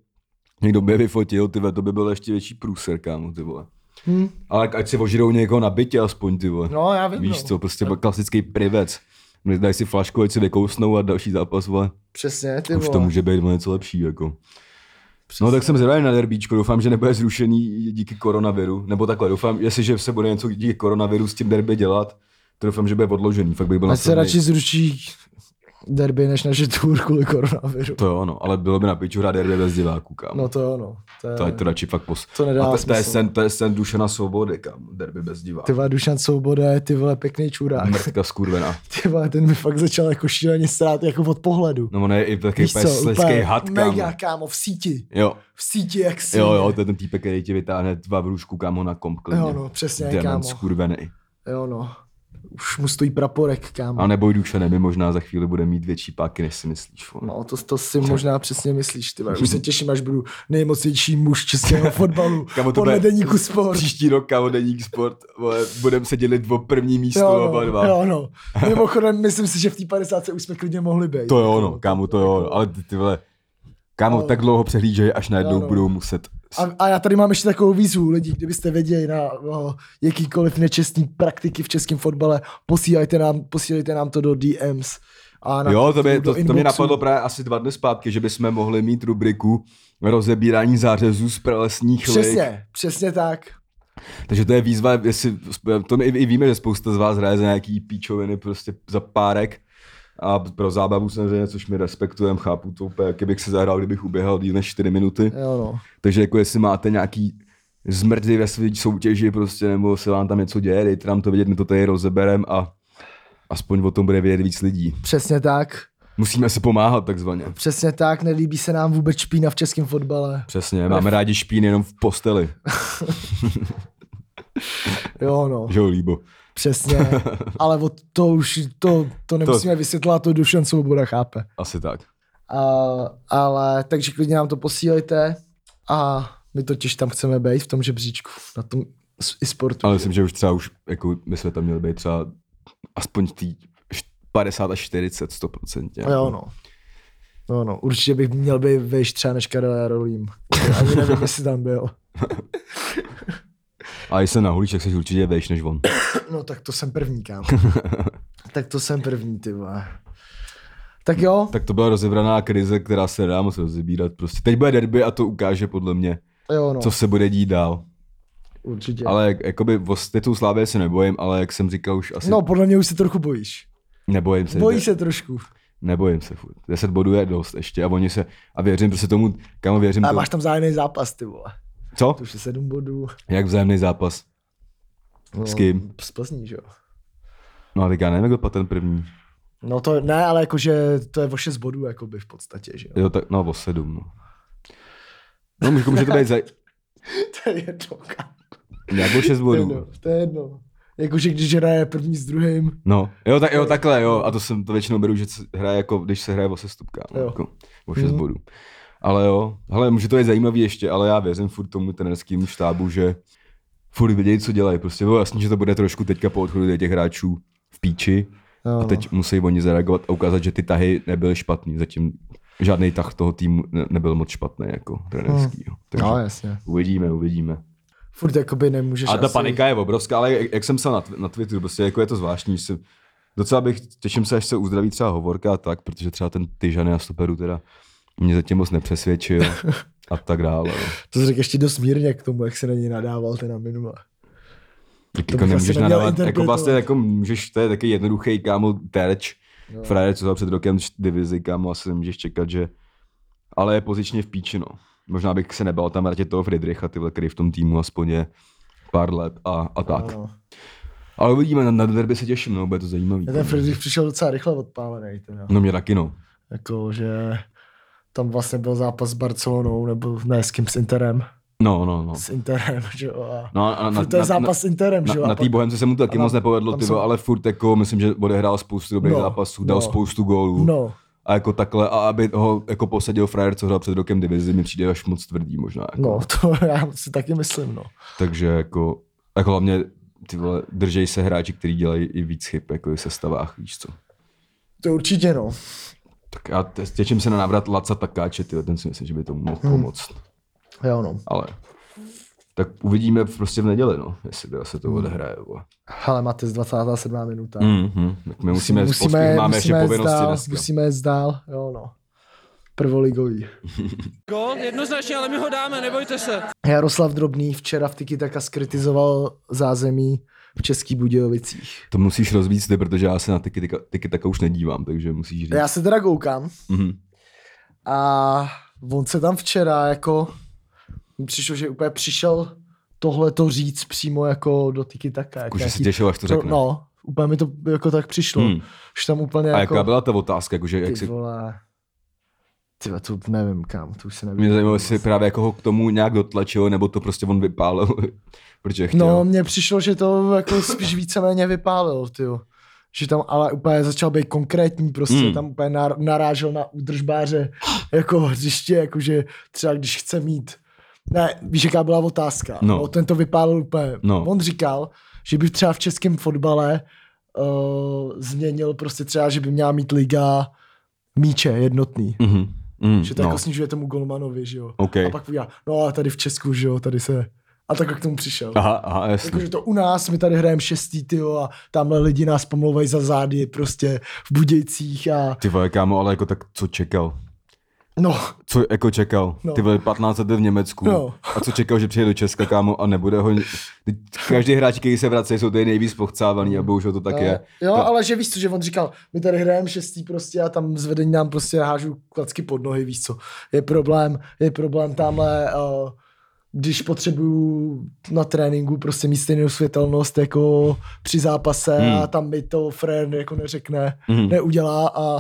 A: Někdo by je vyfotil, ty vole, to by byl ještě větší průser, kámo, ty vole.
B: Hm.
A: Ale ať si ožirou někoho na bytě aspoň, ty vole.
B: No, já vím.
A: Víš
B: no.
A: co, prostě klasický privec. Dají si flašku, ať si vykousnou a další zápas, vole.
B: Přesně, ty
A: Už
B: vole.
A: to může být o něco lepší, jako.
B: Přesně.
A: No tak jsem zvědavý na derbíčko, doufám, že nebude zrušený díky koronaviru, nebo takhle, doufám, jestliže se bude něco díky koronaviru s tím derby dělat, to doufám, že bude odložený, fakt bych byl
B: Ať se
A: nasranej.
B: radši zruší derby, než naše tour kvůli koronaviru.
A: To jo, no, ale bylo by na piču hrát derby bez diváků, kámo.
B: No to jo, no. To je,
A: To ať to radši fakt pos...
B: To nedá
A: A to, to, je
B: smysl.
A: sen, to je sen Dušana Svobody, kámo, derby bez
B: ty
A: diváků.
B: vole, Dušan Svoboda je ty vole pěkný čurák.
A: Mrtka skurvená.
B: Ty vole, ten mi fakt začal jako šíleně strát jako od pohledu.
A: No on je i takový
B: Víš co,
A: sleský
B: úplně
A: had, kámo.
B: Mega, kámo, v síti.
A: Jo,
B: V síti, jak si.
A: jo, jo, to je ten týpek, který ti vytáhne dva vrůžku, kámo, na komp klidně.
B: Jo, no, přesně,
A: Dement
B: kámo.
A: skurvený.
B: Jo, no. Už mu stojí praporek, kámo.
A: A neboj Dušane, my možná za chvíli bude mít větší páky, než si myslíš. vole.
B: No, to, to si možná přesně myslíš, ty vole. Už se těším, až budu nejmocnější muž českého fotbalu.
A: Kámo, to
B: podle
A: bude-
B: deníku sport.
A: Příští rok, kámo, deník sport, vole, budeme se dělit o první místo oba dva.
B: jo, no. Mimochodem, myslím si, že v té 50 už jsme klidně mohli být.
A: To jo, no, kámo, to jo, no. ale ty, ty vole, kámo,
B: Ale-
A: tak dlouho přehlížej, až najednou
B: Jo, no.
A: budou muset.
B: A, a já tady mám ještě takovou výzvu, lidi, kdybyste věděli na o, jakýkoliv nečestný praktiky v českém fotbale, posílejte nám, posílejte nám to do DMs. A na
A: Jo, to, by,
B: do
A: to, to
B: inboxu.
A: mě napadlo právě asi dva dny zpátky, že bychom mohli mít rubriku rozebírání zářezů z pralesních lig.
B: Přesně, přesně tak.
A: Takže to je výzva, jestli, to my i víme, že spousta z vás hraje za nějaký píčoviny prostě za párek a pro zábavu samozřejmě, což my respektujeme, chápu to úplně, jak bych se zahrál, kdybych uběhal díl než 4 minuty.
B: Jo, no.
A: Takže jako jestli máte nějaký zmrdy ve své soutěži prostě, nebo se vám tam něco děje, dejte nám to vědět, my to tady rozeberem a aspoň o tom bude vědět víc lidí.
B: Přesně tak.
A: Musíme si pomáhat takzvaně.
B: Přesně tak, nelíbí se nám vůbec špína v českém fotbale.
A: Přesně, máme rádi špín jenom v posteli,
B: Jo, no,
A: že jo, líbo.
B: přesně. Ale od to už, to, to nemusíme vysvětlovat, to Dušan Svoboda chápe.
A: Asi tak.
B: A, ale takže klidně nám to posílejte a my totiž tam chceme být v tom žebříčku, na tom s- i sportu.
A: Ale myslím, že už třeba už, jako my jsme tam měli být třeba aspoň tý št- 50 až 40, 100%.
B: A jo, no. No, no, určitě bych měl být vejš třeba než Karel Jarolím. Ani nevím, jestli tam byl.
A: A jestli na hulíček jsi určitě vejš než on.
B: No, tak to jsem první, kámo. tak to jsem první, ty vole. Tak jo,
A: Tak to byla rozebraná krize, která se dá moc rozebírat. Prostě teď bude derby a to ukáže podle mě,
B: jo, no,
A: co se bude dít dál.
B: určitě.
A: Ale jak- jakoby o titul Slávě se nebojím, ale jak jsem říkal už asi...
B: No, podle mě už se trochu bojíš.
A: nebojím se.
B: Bojí se trošku.
A: Nebojím se furt. 10 bodů je dost ještě a oni se... A věřím prostě tomu, kam věřím
B: A
A: to...
B: máš tam zájemný zápas, ty vole.
A: Co?
B: To už je sedm bodů.
A: Jak vzájemný zápas.
B: No,
A: No. S kým?
B: S Plzní, že jo.
A: No a teď já nevím, jak dopadl ten první.
B: No to ne, ale jakože to je o 6 bodů jakoby v podstatě, že jo.
A: Jo, tak, no o sedm, no. No, můžu, může to být za...
B: To je jedno, kámo.
A: Nebo šest
B: To je
A: bodů.
B: jedno, to je jedno. Jakože když hraje první s druhým,
A: No, jo, tak, jo, takhle, jo. A to jsem to většinou beru, že se hraje jako, když se hraje o sestup, kámo,
B: Jo.
A: jako, o šest
B: Mhm.
A: bodů. Ale jo, hele, může to být zajímavý ještě, ale já věřím furt tomu trenerskému štábu, že furt vědějí, co dělají. Prostě bylo jasný, že to bude trošku teďka po odchodu těch hráčů v píči.
B: jo, no.
A: A teď musí oni zareagovat a ukázat, že ty tahy nebyly špatný. Zatím žádný tah toho týmu ne- nebyl moc špatný jako trenerský. jo.
B: no.
A: Takže
B: no, jasně.
A: uvidíme, uvidíme.
B: Furt jakoby nemůžeš
A: A ta
B: asi-
A: panika je obrovská, ale jak, jak jsem psal na, tw- na Twitteru, prostě jako je to zvláštní, že se, docela bych, těším se, až se uzdraví třeba Hovorka a tak, protože třeba ten Tyžany na stoperu teda mě zatím moc nepřesvědčil a tak dále. no.
B: To jsi řekl ještě dost mírně k tomu, jak se na něj nadával ten na minule.
A: Tak
B: To
A: jako
B: bych
A: nemůžeš
B: asi neměl
A: nadávat, jako vlastně
B: interpretovat.
A: jako můžeš, to je taky jednoduchý kámo terč,
B: Jo.
A: frajer, co za před rokem v divizi, kámo, asi nemůžeš čekat, že, ale je pozičně v píči, no. Možná bych se nebal tam vrátit toho Friedricha, ty vole, který v tom týmu aspoň je pár let a, a tak.
B: No.
A: Ale uvidíme, na, na derby se těším, no, bude to zajímavý.
B: A ten
A: kámo.
B: Friedrich přišel docela rychle odpálený. Teda.
A: No mě taky no.
B: Jako, že tam vlastně byl zápas s Barcelonou, nebo ne, s kým, s Interem.
A: No, no, no.
B: S Interem, že jo. A...
A: No, a na,
B: Furt to je
A: na-
B: zápas s Interem,
A: na,
B: že jo.
A: na,
B: a
A: na té
B: pak-
A: Bohemce se mu to taky
B: a na-
A: moc nepovedlo,
B: tam
A: ty
B: jsou-
A: vole, ale furt jako, myslím, že odehrál spoustu dobrých
B: No,
A: zápasů, dal
B: no.
A: spoustu gólů.
B: No,
A: A jako takhle, a aby ho jako posadil frajer, co hrál před rokem divizi, mi přijde až moc tvrdý možná. Jako.
B: no, to já si taky myslím, no.
A: Takže jako, jako hlavně ty vole, držej se hráči, kteří dělají i víc chyb, jako i v sestavách, víš co.
B: To určitě, no.
A: Tak já te- těším se na návrat Laca Takáče, tyjo, ten si myslím, že by tomu mohl
B: Hmm.
A: pomoct.
B: Jo, no.
A: Ale tak uvidíme prostě v neděli, no, jestli teda se to
B: Hmm.
A: odehraje. vole.
B: Hele, Matis, 27. minuta.
A: Mhm, tak my musíme, musíme máme ještě
B: No. musíme jet
A: povinnosti
B: dál,
A: dneska.
B: Musíme jet dál, jo, no. Prvoligový.
D: Gol, jednoznačně, ale my ho dáme, nebojte se.
B: Jaroslav Drobný včera v Tiki Taka skritizoval zázemí v Českých Budějovicích.
A: To musíš rozvíct ty, protože já se na tyky, tyka- tyky taka už nedívám, takže musíš říct.
B: Já se teda koukám
A: Mhm.
B: a on se tam včera jako mi přišlo, že úplně přišel tohle to říct přímo jako do Tiki Taka.
A: Jako, že si těšil, až to řekne.
B: No, úplně mi to jako tak přišlo.
A: Hmm.
B: Hmm. Už tam úplně
A: A
B: jako...
A: jaká byla ta otázka, jakože jak
B: Ty
A: si,
B: vole. Ty vole, to nevím kam, to už se nevím.
A: mě zajímalo, jestli právě jako ho k tomu nějak dotlačil, nebo to prostě on vypálil, protože chtěl.
B: No, mně přišlo, že to jako spíš víceméně vypálil, tyjo. Že tam ale úplně začal být konkrétní, prostě
A: Hmm.
B: hmm. tam úplně nar- narážel na údržbáře jako hřiště, jakože třeba když chce mít. Ne, víš, jaká byla otázka.
A: No.
B: ten to vypálil úplně.
A: No.
B: On říkal, že by třeba v českém fotbale uh, změnil prostě třeba, že by měla mít liga míče jednotný.
A: Mhm. Mhm.
B: Že to
A: no.
B: jako snižuje tomu golmanovi, že jo.
A: OK.
B: A pak já, no a tady v Česku, že jo, tady se... A tak jak k tomu přišel.
A: Aha, aha, jasně.
B: Jakože to u nás, my tady hrajeme šestý, tyjo, a tamhle lidi nás pomlouvají za zády prostě v Budějcích a
A: Ty vole, kámo, ale jako tak co čekal?
B: no,
A: Co jako čekal? No.
B: No.
A: Ty vole, 15 let v Německu.
B: No.
A: A co čekal, že přijde do Česka, kámo, a nebude ho... Teď Každý hráč, který se vrací, jsou tady nejvíc pochcávaný a bohužel to tak
B: no,
A: je.
B: jo,
A: Ta-
B: ale že víš co, že on říkal, my tady hrajeme šestý prostě a tam zvedení nám prostě hážu klacky pod nohy, víš co, je problém, je problém tamhle, uh, když potřebuju na tréninku prostě mít stejnou světelnost jako při zápase
A: Hmm.
B: hmm. a tam mi to Fren jako neřekne,
A: Mhm.
B: hmm. neudělá a,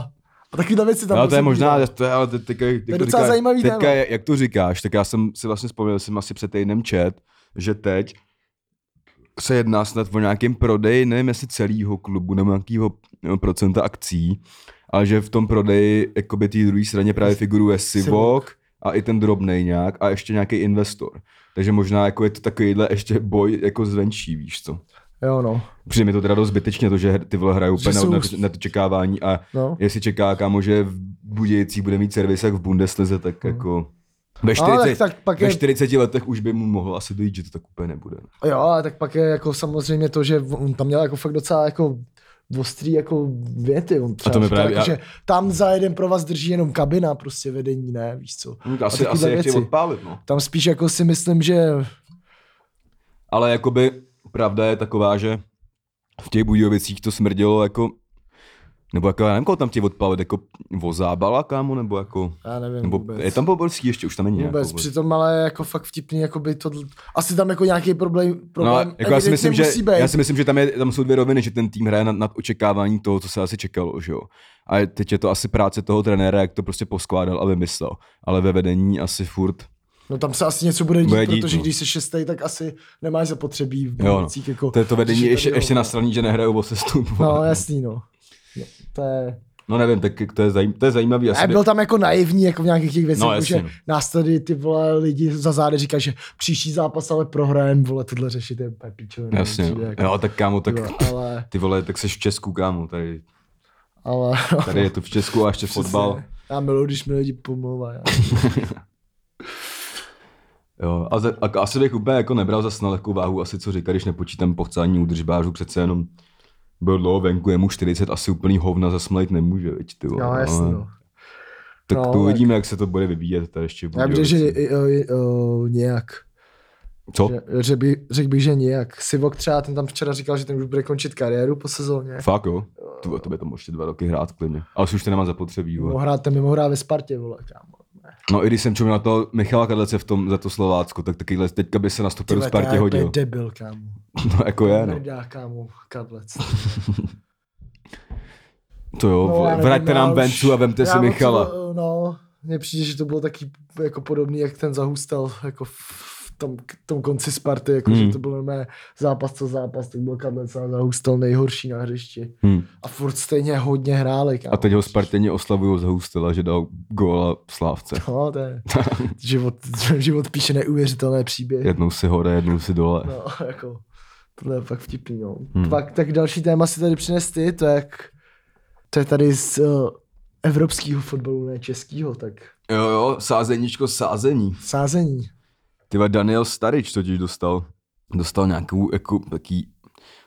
B: a takovýhle věci tam
A: No, to je
B: prostě
A: možná,
B: bývají.
A: to je, ale teď, teď, teď,
B: To je docela zajímavý
A: teďka,
B: téma.
A: je- jak to říkáš, tak já jsem si vlastně vzpomněl, jsem asi před týdnem čet, že teď se jedná snad o nějakém prodeji, nevím jestli celého klubu nebo nějakého procenta akcí, ale že v tom prodeji jakoby té druhé straně právě figuruje Sivok a i ten drobnej nějak a ještě nějaký investor. Takže možná jako je to takovýhle ještě boj jako zvenčí, víš co.
B: Jo no,
A: Přijde mi to teda dost zbytečně, to, že her- ty vole hrajou
B: Že
A: úplně na,
B: jsou-
A: na, na to čekávání a
B: no.
A: jestli čeká kámo, že v Budějcích bude mít servis jak v Bundeslize, tak jako ve
B: No, Mhm. ale
A: 40,
B: tak, tak pak
A: ve
B: je
A: 40 letech už by mu mohlo asi dojít, že to tak úplně nebude.
B: Jo, ale tak pak je jako samozřejmě to, že on tam měl jako fakt docela jako ostrý jako věty. On třeba
A: to mi
B: říkal
A: právě-
B: jako,
A: já-
B: že tam za jeden pro vás drží jenom kabina, prostě vedení, ne, víš co.
A: No, Hmm, Asi,
B: A
A: asi
B: takovýhle
A: jak tě
B: věci.
A: odpálit, no.
B: Tam spíš jako si myslím, že
A: Ale jakoby pravda je taková, že v těch Budějovicích to smrdělo jako nebo jako, já nevím, koho tam tě odpálit, jako vozábala, kámo, nebo jako...
B: já nevím
A: Nebo
B: vůbec.
A: je tam pobolský ještě, už tam není
B: Vůbec,
A: Jako,
B: přitom ale jako fakt vtipný, jako by to, asi tam jako nějaký problém,
A: No,
B: problém
A: jako já, si myslím, že,
B: musí být.
A: já si myslím, že tam, je, tam jsou dvě roviny, že ten tým hraje nad, nad očekávání toho, co se asi čekalo, že jo. A teď je to asi práce toho trenéra, jak to prostě poskládal a vymyslel. Ale ve vedení asi furt.
B: No tam se asi něco bude dít,
A: Bude dít,
B: protože
A: no.
B: když jsi šestý, tak asi nemáš zapotřebí v
A: Jo, no.
B: budoucích, jako,
A: To je to vedení
B: když
A: ještě,
B: tady-
A: ještě na straně, že nehrajou o sestup.
B: No jasný, no. no to je...
A: no nevím, tak to je, zajím, to je zajímavý. Asi
B: A byl tam jako naivní jako v nějakých těch věcech,
A: No,
B: no,
A: jasně,
B: že
A: no.
B: nás tady ty vole lidi za zády říkají, že příští zápas ale prohrajeme, vole, tohle řešit je úplně píčovina,
A: Jasně, no.
B: přijde jako,
A: jo, tak kámo, tak
B: jo, ale,
A: ty vole, tak seš v Česku, kámo, tady,
B: ale,
A: tady je to v Česku a ještě
B: přesně.
A: fotbal.
B: Já miluji, když mi lidi pomluvají.
A: Jo, a, ze, a, asi bych úplně jako nebral zase na lehkou váhu, asi co říká, když nepočítám pochcání údržbářů, přece jenom byl dlouho venku, je mu 40, asi úplný hovna zasmlejt nemůže, veď, ty vole.
B: No, jasně,
A: ale-
B: no.
A: Tak
B: No,
A: to
B: tak-
A: uvidíme, jak se to bude vyvíjet tady ještě. v
B: Já bych, že
A: Budějovicích.
B: i- i- i- o, nějak.
A: Co?
B: Že, že by, řekl bych, že nějak. Sivok třeba, ten tam včera říkal, že ten už bude končit kariéru po sezóně.
A: Fakt jo? Ty
B: No.
A: vole, to by to ještě dva roky hrát klidně. Ale už to nemá zapotřebí, vole.
B: Mohl hrát, ten by mohl hrát ve Spartě, vole, kámo.
A: No i když jsem čuměl na to Michala Kadlece v tom, za to Slovácko, tak takyhle teďka by se na
B: Ty
A: stoperu
B: vole, to
A: Spartě
B: je úplně
A: hodil.
B: debil, kámo.
A: No jako je, no.
B: Mrdá, kámo, kablec.
A: To jo, vole,
B: já
A: No, vraťte
B: nevím, já
A: nám
B: No, už-
A: Bencu a vemte si
B: já moc,
A: Michala.
B: No, mně přijde, že to bylo taky jako podobný, jak ten zahustal jako v v tom, k tom konci Sparty, jako
A: Hmm.
B: že to bylo mé zápas co zápas, tak byl Kadlec a zahustal nejhorší na hřišti.
A: Hm.
B: A furt stejně hodně hráli, kámo.
A: A teď ho Spartěni oslavují z Houstela, že dal góla Slávce.
B: No, to je, život, život píše neuvěřitelné příběhy.
A: Jednou si hore, jednou si dole.
B: No, jako, tohle je fakt vtipný, no. Hmm. Pak tak další téma si tady přines ty, to jak, to je tady z, uh, evropského fotbalu, ne českého, tak
A: Jo, jo, sázeníčko, sázení.
B: sázení.
A: Ty vole, Daniel Starič totiž dostal, dostal nějakou, jako, taký,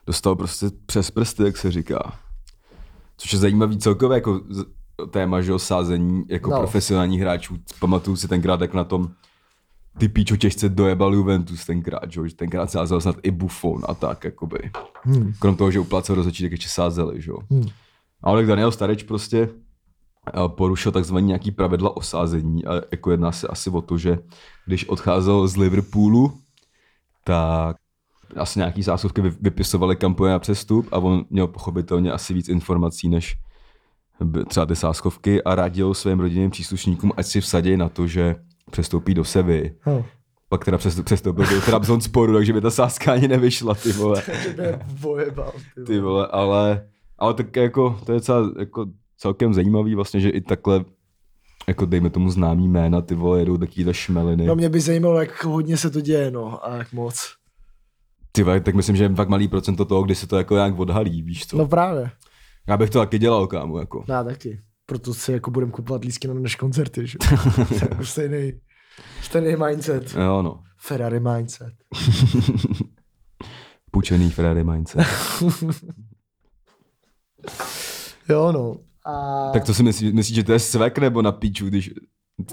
A: dostal prostě přes prsty, jak se říká. Což je zajímavý celkové, jako z- téma, že jo, sázení jako
B: No.
A: no. profesionálních hráčů. Pamatuju si tenkrát, jak na tom ty píčo těžce dojebal Juventus tenkrát, že jo, že tenkrát sázel snad i Buffon a tak, jakoby.
B: Hmm.
A: Krom toho, že uplácel rozhodčí, tak ještě sázeli, že jo.
B: Hmm.
A: Ale tak Daniel Stareč prostě eh, porušil takzvané nějaký pravidla o sázení a jako jedná se asi o to, že když odcházel z Liverpoolu, tak asi nějaký zásuvky vy- vypisovali kampuje na přestup a on měl pochopitelně asi víc informací než b- třeba ty sáskovky a radil svým rodinným příslušníkům, ať si vsadí na to, že přestoupí do Sevy.
B: No.
A: Pak teda přestup- přestoupil do Trabzon sporu, takže by ta sázka ani nevyšla, ty vole.
B: Vojebal, ty
A: Ty vole, ale, ale tak jako, to je docela, jako celkem zajímavý vlastně, že i takhle, jako dejme tomu známý jména, ty vole, jedou takovýhle šmeliny.
B: No mě by zajímalo, jak hodně se to děje, no, a jak moc.
A: Ty vole, tak myslím, že je fakt malý procento toho, kdy se to jako nějak odhalí, víš co.
B: No právě,
A: Já bych to taky dělal, kámo, jako.
B: No, já taky. Proto si jako budem kupovat lísky na než koncerty, že? to je jako stejný, stejný mindset.
A: Jo, no.
B: Ferrari mindset.
A: Půjčený Ferrari mindset.
B: Jo, no. A...
A: tak to si myslíš, myslí, že to je svek nebo na píču, když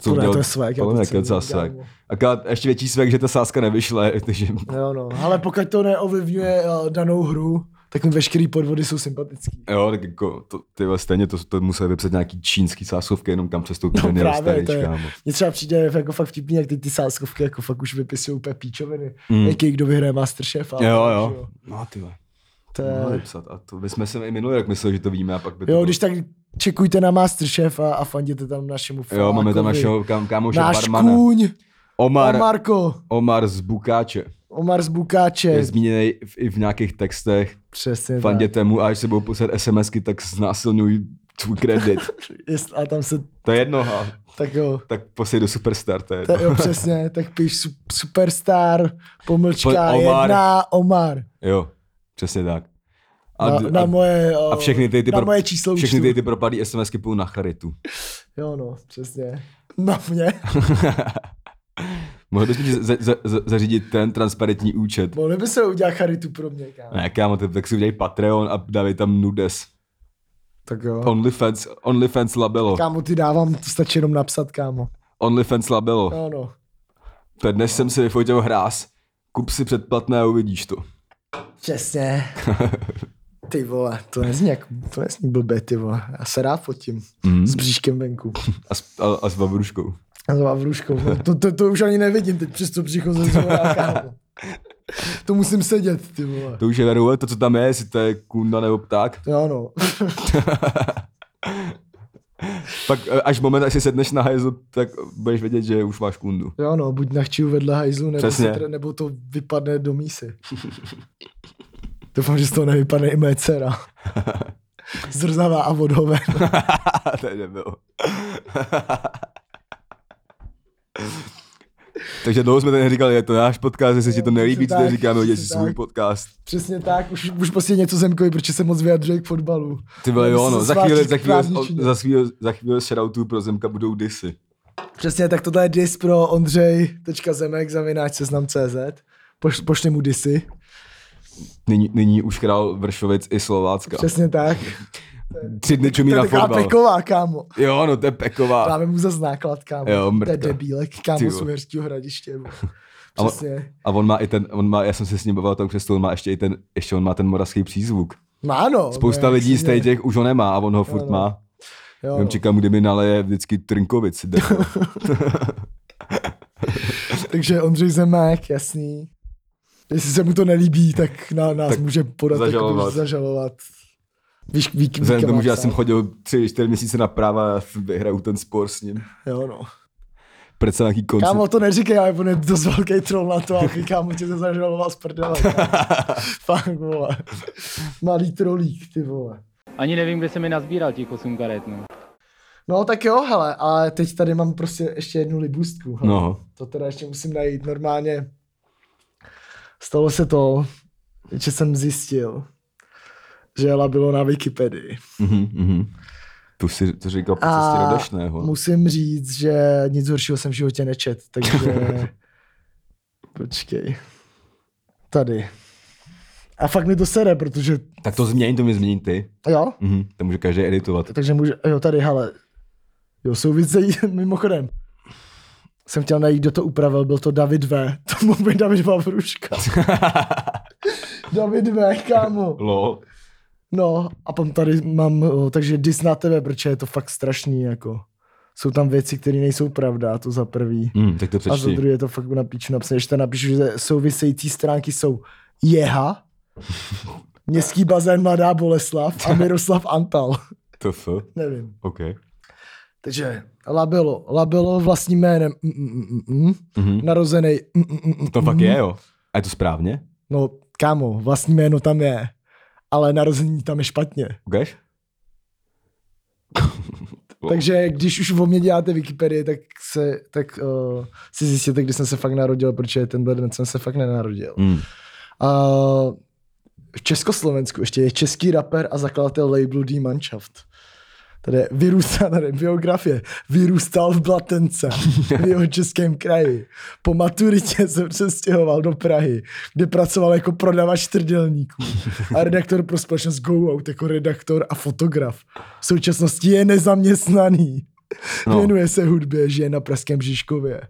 B: to, ne, to je svek. já
A: To
B: to
A: ne,
B: celý
A: to je docela
B: nedělám,
A: svek.
B: no.
A: Akorát ještě větší svek, že ta sázka nevyšla, takže
B: Jo, no. Ale pokud to neovlivňuje eh, danou hru, tak mi veškerý podvody jsou sympatický.
A: Jo, tak jako, to, ty vole, stejně to, to museli vypsat nějaký čínský sásovky, jenom kam přestoupí
B: No
A: ten jeho
B: právě,
A: starý,
B: to je-
A: kámo.
B: Mně třeba přijde jako fakt vtipný, jak ty, ty sáskovky jako fakt už vypisují úplně píčoviny.
A: Mm.
B: Mm. Jaký kdo vyhraje Masterchef. a-
A: Jo, No,
B: že
A: jo. No ty vole,
B: To
A: to mohli
B: je,
A: vypsat. A to, my jsme se i minulý rok mysleli, že to víme a pak by to
B: jo,
A: bylo-
B: když tak čekujte na Masterchef a, a fanděte tam našemu
A: Jo, máme tam
B: Falákovi.
A: našeho kam, kámoše
B: Náš
A: barmana.
B: kůň,
A: Omar, Omar,
B: Omarko,
A: Omar z Bukáče.
B: Omar z Bukáče.
A: Je zmíněný v, i v nějakých textech.
B: Přesně tak.
A: Fanděte mu a až se budou poslat SMSky, tak znásilňuj tvůj kredit.
B: Jest- A tam se,
A: To je jedno, ha.
B: tak jo.
A: tak posej do Superstar, to je
B: To,
A: jedno.
B: jo, přesně, tak píš su- superstar, pomlčka,
A: Po- Omar.
B: Omar. jedna, Omar.
A: Jo, přesně tak.
B: Na,
A: d-
B: na moje, o,
A: a všechny ty, ty,
B: na
A: pro,
B: moje číslo
A: všechny
B: účtu.
A: ty, ty propadlý SMSky půjdou na charitu.
B: Jo no, přesně. Na mě.
A: Mohl bys mi za, za, za, zařídit ten transparentní účet.
B: Mohli by se udělat charitu pro mě, kámo.
A: Ne, kámo, ty- tak si udělej Patreon a dávej tam nudes.
B: Tak jo.
A: OnlyFans, OnlyFans labelo.
B: Kámo, ty dávám, to stačí jenom napsat, kámo.
A: OnlyFans labelo.
B: Jo no.
A: To dnes jsem si vyfotil hráz. Kup si předplatné a uvidíš to.
B: Přesně. Ty vole, to nezní, jak, to nezní blbě, ty vole. Já se rád fotím.
A: Mhm.
B: S bříškem venku.
A: A s, a, a s babruškou.
B: A s Vavruškou. No, To, to, to, už ani nevidím, teď přes to přichozím z hora, kámo. To musím sedět, ty vole.
A: To už je veru, to, co tam je, jestli to je kunda nebo pták.
B: Jo no.
A: Pak eh, až moment, až si sedneš na hajzl, tak budeš vědět, že už máš kundu.
B: Jo no, buď nachčiju vedle hajzlu, nebo, se
A: Přesně.
B: tre, nebo to vypadne do mísy. Doufám, že z toho nevypadne i moje dcera. Zrzavá a vodové.
A: to je nebylo. Takže dlouho jsme tady neříkali, je to náš podcast, jestli ti to nelíbí, co tady
B: tak,
A: říkáme, udělej si
B: přesně
A: svůj
B: tak.
A: podcast.
B: Přesně tak, už, už prostě něco zemkovi, protože se moc vyjadřuje k fotbalu.
A: Ty vole,
B: Nebo
A: jo,
B: se
A: no, za
B: svádí
A: chvíli,
B: k
A: za chvíli,
B: právničině.
A: za chvíli, za chvíli shoutoutů pro Zemka budou disy.
B: Přesně, tak tohle je dis pro ondřej.zemek, zavináč seznam CZ. Poš, pošli mu disy.
A: Nyní, nyní už král Vršovic i Slovácka.
B: Přesně tak.
A: Tři dny čumí
B: To
A: na
B: je taková
A: fotbal.
B: peková, kámo.
A: Jo, no, to je peková.
B: Dáme mu zase náklad, kámo.
A: Jo,
B: to
A: mrtka.
B: je debílek,
A: Ty
B: kámo,
A: jo.
B: z Uherského hradiště. bo.
A: Ale-
B: Přesně.
A: A on má i ten, on má, já jsem se s ním bavil o tom přesto, on má ještě i ten, ještě on má ten moravský přízvuk.
B: Má no.
A: Spousta
B: no,
A: lidí z
B: jasně.
A: těch, těch už ho nemá a on ho
B: Jo,
A: furt
B: no.
A: má.
B: Jo,
A: Jenom
B: no.
A: čekám, kdy mi naleje vždycky Trnkovic. debil.
B: Takže Ondřej Zemek, jasný. Jestli se mu to nelíbí, tak na, nás
A: Tak
B: tak může podat
A: zažalovat.
B: jakoby zažalovat. Víš, ví, ví,
A: Vzhledem k tomu, že já
B: kam
A: jsem
B: psát.
A: chodil tři, čtyři měsíce na práva a vyhraju ten spor s ním.
B: Jo, no.
A: Prece nějaký koncert.
B: Kámo, to neříkej, ale on je dost velký troll na to, aby kámo tě to zažaloval z prdele. kámo. Fakt, vole. Malý trolík, ty vole.
E: Ani nevím, kde se mi nazbíral těch 8 karet, no.
B: No tak jo, hele, ale teď tady mám prostě ještě jednu libůstku. hele.
A: No,
B: To teda ještě musím najít. Normálně stalo se to, že jsem zjistil, že Ela bylo na Wikipedii.
A: mhm, mhm. To si to říkal po cestě do
B: A
A: Dašného.
B: musím říct, že nic horšího jsem v životě nečet, takže... Počkej. Tady. A fakt mi to sere, protože...
A: Tak to změň, to mi změň ty.
B: Jo?
A: Mhm, to může každý editovat.
B: Takže může... Jo, tady, hele. Jo, souvisejí, mimochodem. Jsem chtěl najít, kdo to upravil, byl to David V. To mohl být David Vavruška. David V, kámo.
A: Lol.
B: No, a potom tady mám, o, takže dis na tebe, protože je to fakt strašný, jako. Jsou tam věci, které nejsou pravda, to za prvý.
A: Mm, tak to
B: A za
A: přečti.
B: druhé je to fakt na píču napsané, když tam napíšu, že související stránky jsou Jeha, Městský bazén Mladá Boleslav a Miroslav Antal.
A: To f.
B: Nevím.
A: OK.
B: Takže Labelo, Labelo vlastním jménem, mm, mm, mm, mm,
A: Mhm.
B: narozený. Mm, mm, mm, mm,
A: To fakt
B: mm.
A: je, jo. A je to správně?
B: No, kámo, vlastní jméno tam je, ale narození tam je špatně.
A: Ukaž? Wow.
B: Takže když už o mě děláte Wikipedii, tak, se, tak uh, si zjistíte, kdy jsem se fakt narodil, protože tenhle den jsem se fakt nenarodil.
A: Mm.
B: A v Československu ještě je český rapper a zakladatel labelu D Mannschaft. Tady je vyrůstal, tady je biografie, vyrůstal v Blatence, v jeho českém kraji. Po maturitě se přestěhoval do Prahy, kde pracoval jako prodavač trdelníků a redaktor pro společnost Go Out jako redaktor a fotograf. V současnosti je nezaměstnaný.
A: No.
B: No. Věnuje se hudbě, žije na Pražském Žižkově.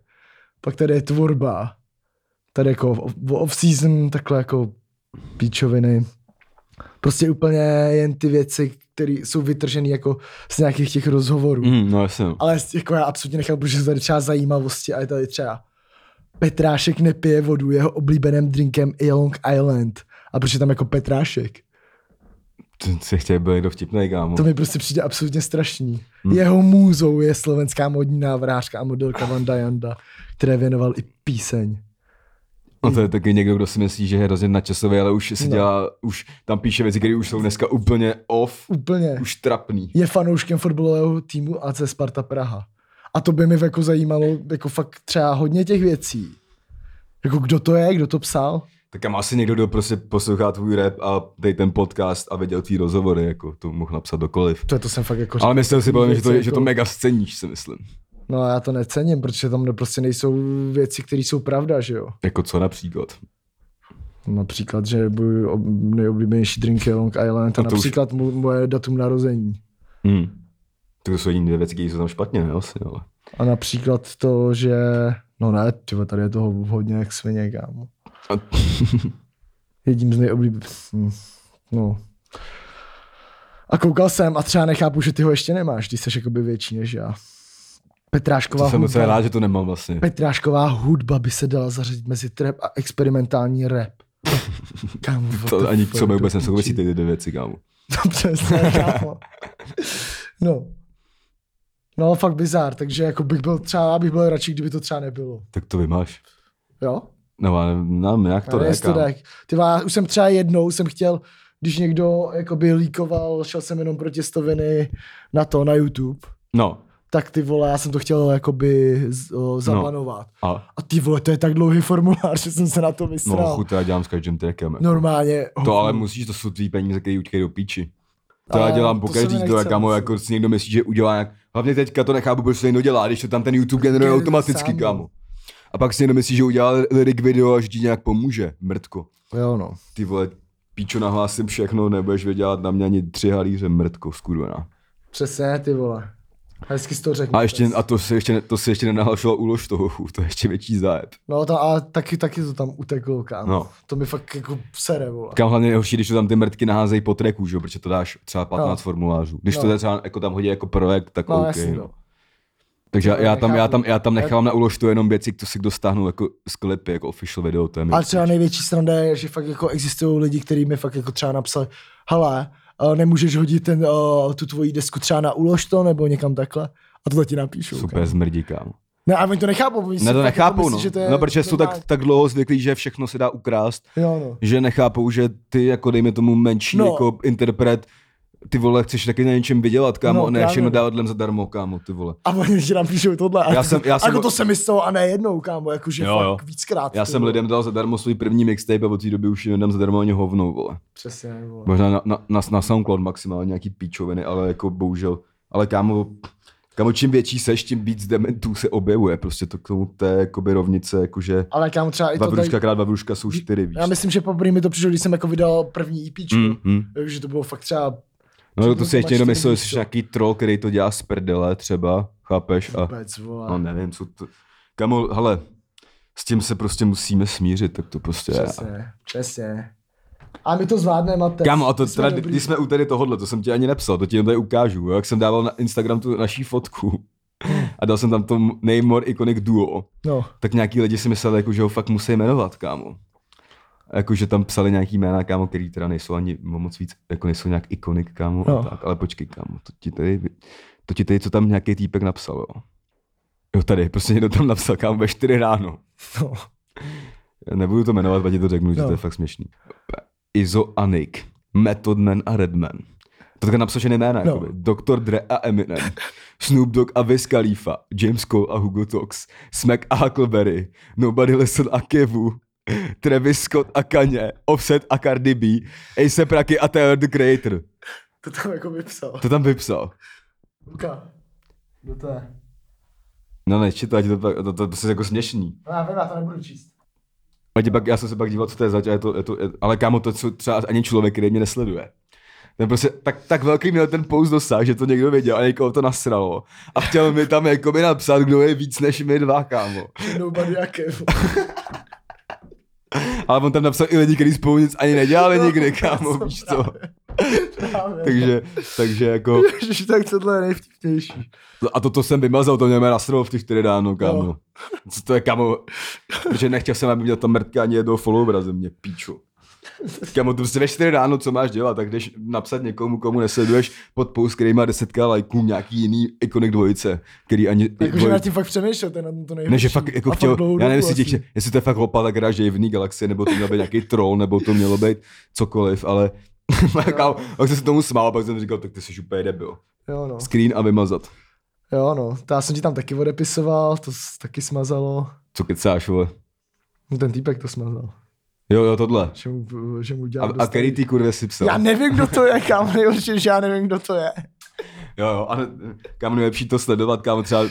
B: Pak tady je tvorba. Tady jako v- v off-season, takhle jako píčoviny. Prostě úplně jen ty věci, které jsou vytržené jako z nějakých těch rozhovorů. Mm.
A: Mm, no jasně.
B: Ale z- jako já absolutně nechápu, protože jsou tady třeba zajímavosti a je tady třeba Petrášek nepije vodu, jeho oblíbeným drinkem je Long Island. A proč je tam jako Petrášek?
A: Ty jsi chtěl být někdo vtipnej, kámo.
B: To mi prostě přijde absolutně strašný.
A: Hmm.
B: Jeho můzou je slovenská modní návrhářka a modelka Vanda Janda, které věnoval i píseň.
A: No to je taky někdo, kdo si myslí, že je hrozně nadčasový, ale už si
B: No.
A: dělá, už tam píše věci, které už jsou dneska úplně off,
B: Úplně.
A: už trapný.
B: Je fanouškem fotbalového týmu AC Sparta Praha. A to by mi jako zajímalo jako fakt třeba hodně těch věcí. Jako kdo to je, kdo to psal?
A: Tak tam asi někdo, kdo prostě poslouchá tvůj rap a dej ten podcast a viděl tvý rozhovory, jako to mohl napsat dokoliv.
B: To, je, to jsem fakt jako
A: Ale myslím si, podle mě, že to,
B: Věci
A: že to
B: jako-
A: mega sceníš, si myslím.
B: No a já to necením, protože tam prostě nejsou věci, které jsou pravda, že jo?
A: Jako co například?
B: Například, že můj ob- nejoblíbenější drink je Long Island a,
A: A to už-
B: například mu- moje datum narození. Mhm.
A: Hmm. Tak to jsou jediné dvě věci, které jsou tam špatně, ne? Asi, ale.
B: A například to, že... No ne, tyvo, tady je toho hodně jak svině, kámo.
A: A-
B: Jedním z nejoblíbenějších. No. A koukal jsem a třeba nechápu, že ty ho ještě nemáš, když jsi jakoby větší než já. Petrášková
A: To jsem docela
B: hudba.
A: rád, že to nemám vlastně.
B: Petrášková hudba by se dala zařadit mezi trap a experimentální rap. Kámo, what the
A: No To ani k
B: fuck,
A: sobě
B: do
A: vůbec nesouvisí
B: piči.
A: ty dvě věci, kámo.
B: To přesně, kámo. No. No, fakt bizár, takže jako bych byl třeba, já bych byl radši, kdyby to třeba nebylo.
A: Tak to vymáš.
B: Jo?
A: No, ale nám, jak to
B: Ale
A: ne,
B: jestli to
A: kámo.
B: tak. Ty vá, už jsem třeba jednou, jsem chtěl, když někdo jakoby líkoval, šel jsem jenom pro těstoviny na to, na YouTube,
A: No,
B: tak ty vole, já jsem to chtěl jakoby z, o, zabanovat. No.
A: a
B: A ty vole, to je tak dlouhý formulář, že jsem se na to
A: no,
B: vysral.
A: chuť já dělám s každým trackem.
B: No.
A: jako.
B: Normálně.
A: To ale musíš, to jsou tvý peníze, které utíkají do píči. To já
B: Ale
A: dělám po
B: to se mi
A: každý, to
B: nechce
A: jak kámo,
B: moc.
A: jako si někdo myslí, že udělá nějak. Hlavně teďka to nechápu, proč to někdo dělá, když to tam ten YouTube generuje
B: Generuje
A: automaticky,
B: sám, no.
A: kámo. A pak si někdo myslí, že udělá lyric video a že ti nějak pomůže, mrtko.
B: Jo, no.
A: Ty vole, píčo nahlásím všechno, nebudeš vědět na mě ani tři halíře, mrtko, skurvená.
B: Přesně, ty vole. Hezky jsi to řekl.
A: A, ještě,
B: Pes.
A: a to se ještě, to se ještě nenahlašilo úlož toho, to je ještě větší zájeb.
B: No to, a taky, taky to tam uteklo, kámo.
A: No.
B: No. To mi fakt jako sere, vole.
A: Kam hlavně nejhorší, když to tam ty mrtky naházejí po tracku, že? jo, protože to dáš třeba 15
B: No.
A: formulářů. Když
B: No.
A: to třeba jako tam hodí jako projekt, tak
B: No,
A: OK.
B: jasně, no.
A: Takže já,
B: To
A: já, tam, já,
B: nechápu.
A: tam, já tam nechávám na uložtu jenom věci, co si kdo stáhnou jako z klipy, jako official video, to je mi
B: Ale třeba největší sranda je, že fakt jako existují lidi, kteří mi fakt jako třeba napsali, hele, eh, nemůžeš hodit ten, eh, tu tvoji desku třeba na ulož to, nebo někam takle. A tohle ti napíšu.
A: super
B: kámo.
A: zmrdí, kámo.
B: Ne, a oni to nechápou. Oni si
A: Ne,
B: fakt
A: to
B: jako
A: nechápou,
B: myslí,
A: no.
B: že to je
A: No, protože jsou tak,
B: normální.
A: tak dlouho zvyklí, že všechno se dá ukrást,
B: Jo, no.
A: že nechápou, že ty jako dejme tomu menší
B: No.
A: jako interpret, ty vole, chceš taky na něčem vydělat, kámo,
B: No,
A: no, ne
B: právě,
A: všechno
B: no.
A: dávat dlem zadarmo, kámo, ty vole.
B: A oni ti napíšou tohle. A
A: Já
B: já
A: jsem-
B: jsem,
A: já jsem-
B: jako to se mi stalo a ne jednou, kámo, jakože
A: Jo,
B: jo, fakt
A: jo.
B: jo. víckrát.
A: Já
B: ty
A: jsem
B: vole.
A: lidem dal zadarmo svůj první mixtape a od té doby už jim nedám zadarmo ani hovno, vole.
B: Přesně, vole.
A: Možná na, na, na, na SoundCloud maximálně nějaký píčoviny, ale jako bohužel Ale kámo, kámo, čím větší seš, tím víc dementů se objevuje. Prostě to k tomu té jakoby rovnice, jakože
B: Ale kámo, třeba i
A: dva
B: to tady,
A: vruška krát dva vruška jsou čtyři, víš.
B: já myslím, že poprvé mi to přišlo, když jsem jako vydal první EPčku,
A: Mm, mm.
B: že to bylo fakt třeba
A: No to si ještě někdo
B: Čtyři
A: myslel, že
B: víš
A: jsi
B: co.
A: nějaký troll, který to dělá z prdele třeba, chápeš? A
B: vůbec, vole.
A: no nevím, co to... Kamo, hele, s tím se prostě musíme smířit, tak to prostě je.
B: Přesně, přesně. A my to zvládneme a teď.
A: Kámo, a to
B: jsme
A: teda,
B: dobrý.
A: když jsme u tady tohohle, to jsem ti ani nepsal, to ti jenom tady ukážu, jo, jak jsem dával na Instagram tu naší fotku a dal jsem tam to name more iconic duo,
B: No,
A: tak nějaký lidi si mysleli, jako, že ho fakt musí jmenovat, kámo. Jakože tam psali nějaký jména, kámo, který teda nejsou ani o moc víc, jako nejsou nějak ikonik, kámo, no.
B: No.
A: a tak, ale počkej, kámo, to ti tady, to ti tady, co tam nějaký týpek napsal, jo. Jo, tady, prostě někdo tam napsal, kámo, ve 4 ráno.
B: no.
A: Já nebudu to jmenovat, pak ti to řeknu, no. že
B: No.
A: to je fakt směšný. Izo Anik, Method Man a Redman. To takhle napsažené jména,
B: No.
A: no. Dr. Dre a Eminem, Snoop Dogg a Wiz Khalifa, James Cole a Hugo Tox, Smack a Huckleberry, Nobody Listen a Kevu, Travis Scott a Kanye, Offset a Cardi B, Ace Praky a Tyler, the Creator.
B: To tam jako vypsal.
A: To tam vypsal.
B: Luka, kdo to je?
A: No ne, čit, to, ať to, pak- to, to, to, je prostě jako směšný.
B: No, já vím, já to nebudu číst.
A: A tě pak, já jsem se pak díval, co to je zač, a je to, je to, je, ale kámo, to co třeba ani člověk, který mě nesleduje. Ten prostě tak, tak velký měl ten pouz dosah, že to někdo věděl a někoho to nasralo. A chtěl mi tam jakoby napsat, kdo je víc než my dva, kámo.
B: Nobody jaké.
A: Ale on tam napsal i lidi, kteří spolu nic ani nedělali nikdy, kámo, víš co. Takže, takže jako,
B: Ježiš, tak tohle je nejvtipnější.
A: No a toto jsem vymazal, to mě nasralo v těch čtyři ráno, kámo.
B: No.
A: Co to je, kámo, protože nechtěl jsem, aby měl tam mrtka ani jednoho followera ze mě, píču. Kámo, to prostě ve 4 ráno, co máš dělat, tak jdeš napsat někomu, komu nesleduješ pod post, který má 10 lajků, nějaký jiný ikonik dvojice, který ani...
B: Jakože
A: dvoj-
B: nad tím fakt přemýšlel, to je na tom to nejhorší.
A: ne, že fakt jako
B: A
A: chtěl,
B: dlouhou
A: já nevím,
B: dobu
A: jestli,
B: asi.
A: tě, jestli to je fakt hopala hra, že je v jiný galaxii, nebo to měl být nějaký troll, nebo to mělo být cokoliv, ale kámo, pak jsem se tomu smál, pak jsem říkal, tak ty jsi úplně debil.
B: Jo, no.
A: Screen a vymazat.
B: Jo, no. To já jsem ti tam taky odepisoval, to s- taky smazalo.
A: Co kecáš, vole?
B: No, ten týpek to smazal.
A: Jo, jo, tohle.
B: Že mu, že mu
A: A,
B: dělal
A: a který ty kurve si psal?
B: Já nevím, kdo to je, kámo, nejhorší, že já nevím, kdo to je.
A: Jo, jo, ale kam nejlepší to sledovat, kam třeba,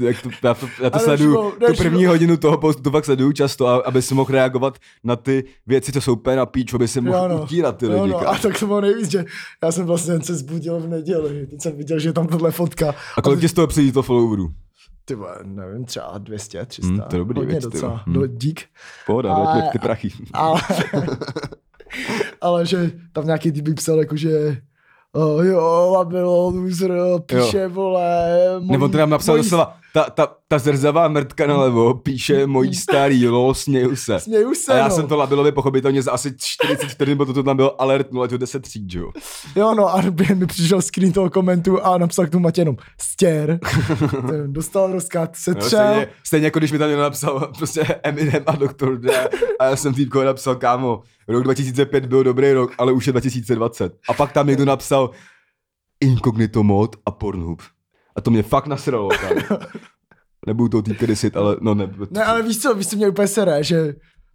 A: jak to, já to, já to
B: Ale
A: sleduju,
B: Šimo, ne,
A: tu první
B: Šimo.
A: hodinu toho postu, to fakt sleduju často, a, aby si mohl reagovat na ty věci, co jsou úplně na píču, aby si mohl
B: Jo,
A: jo,
B: no.
A: utírat ty lidi.
B: no, no,
A: kámo.
B: a tak to bylo nejvíc, že já jsem vlastně jen se zbudil v neděli, teď jsem viděl, že je tam tohle fotka.
A: a kolik tě z toho přijde to followerů?
B: Ty vole, nevím, třeba 200, 300.
A: Hmm, to je dobrý
B: Hodně
A: věc, ty
B: docela.
A: vole. Hmm.
B: No, dík.
A: Pohoda,
B: Ale-
A: vrátíme ty prachy.
B: Ale, ale že tam nějaký typ psal jako, že oh, jo, labilo, loser, píše, jo. vole. Mojí,
A: Nebo to nám napsal
B: mojí
A: doslova, ta, ta, ta zrzavá mrtka nalevo píše mojí starý, lo, směju se.
B: Směju se,
A: a já
B: no.
A: jsem to labilově pochopitelně za asi 40 vteřin, protože to tam bylo alert 0 až 10 tříd, že jo.
B: Jo, no a během mi přišel screen toho komentu a napsal k tomu Matěj jenom stěr. Ten dostal rozkaz, se
A: Jo,
B: třel.
A: stejně, stejně, jako když mi tam někdo napsal prostě Eminem a Dr. D a já jsem týpko napsal, kámo, rok 2005 byl dobrý rok, ale už je 2020. A pak tam někdo napsal Incognito mod a Pornhub. A to mě fakt nasralo, kámo. Nebudu to týpky disit, ale no ne.
B: Ne, ale víš co, víš co mě úplně sere, že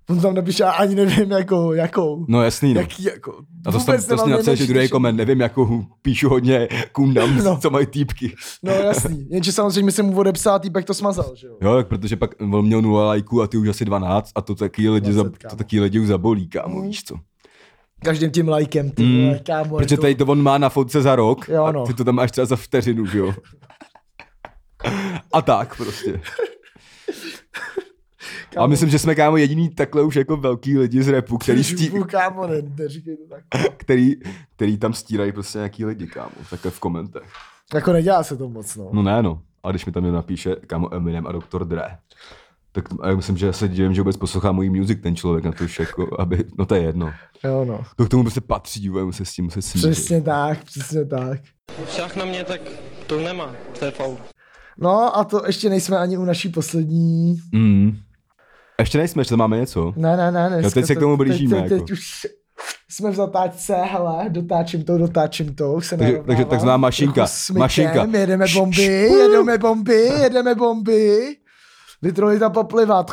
B: on tam napíše, já ani nevím jakou, jakou.
A: No jasný, no.
B: Jaký jako,
A: A to jsem
B: vůbec
A: to
B: nemám
A: jsem napsal, že
B: nejmenší
A: druhý
B: tušení.
A: koment, nevím, jakou píšu hodně kundam, no.
B: No.
A: co mají týpky.
B: No jasný, jenže samozřejmě jsem mu odepsal, týpek to smazal, že jo.
A: Jo, tak protože pak on měl 0 lajků a ty už asi 12 a to taky lidi,
B: 20,
A: za, to
B: kámo. Mm.
A: taky lidi už zabolí, kámo, víš co.
B: Každým tím lajkem, ty
A: Mm,
B: vole, kámo. je
A: Protože
B: to-
A: tady to on má na fotce za rok
B: Jako- Jo,
A: a
B: no.
A: ty to tam máš třeba za vteřinu, že jo. A tak prostě. A
B: Kámo.
A: myslím, že jsme kámo jediný takhle už jako velký lidi z repu, který, stí,
B: Župu, kámo, ne, neříkej to tak.
A: který, který tam stírají prostě nějaký lidi, kámo, takhle v komentech.
B: Jako nedělá se to moc, no.
A: No ne, no. A když mi tam někdo napíše, kámo, Eminem a Dr. Dre, tak t- a já myslím, že se divím, že vůbec poslouchá můj music ten člověk na to už jako, aby, no to je jedno.
B: Jo, no.
A: To k tomu prostě patří, budeme se s tím muset smířit.
B: Přesně tak, přesně tak.
D: Šach na mě, tak to nemá, to je faul.
B: No a to ještě nejsme ani u naší poslední.
A: Mm. Ještě nejsme, ještě tam máme něco.
B: Ne, ne, ne, dneska
A: No, teď se k
B: to-
A: tomu blížíme,
B: Teď, teď,
A: jako.
B: teď už jsme v zatáčce, hele, dotáčím to, dotáčím to, už se
A: Takže-
B: narovnávám.
A: takže takzvaná mašinka,
B: Trochu smykem,
A: mašinka.
B: Jedeme
A: Š-
B: bomby,
A: š-
B: jedeme bomby, jedeme bomby. Litrolita poplivat.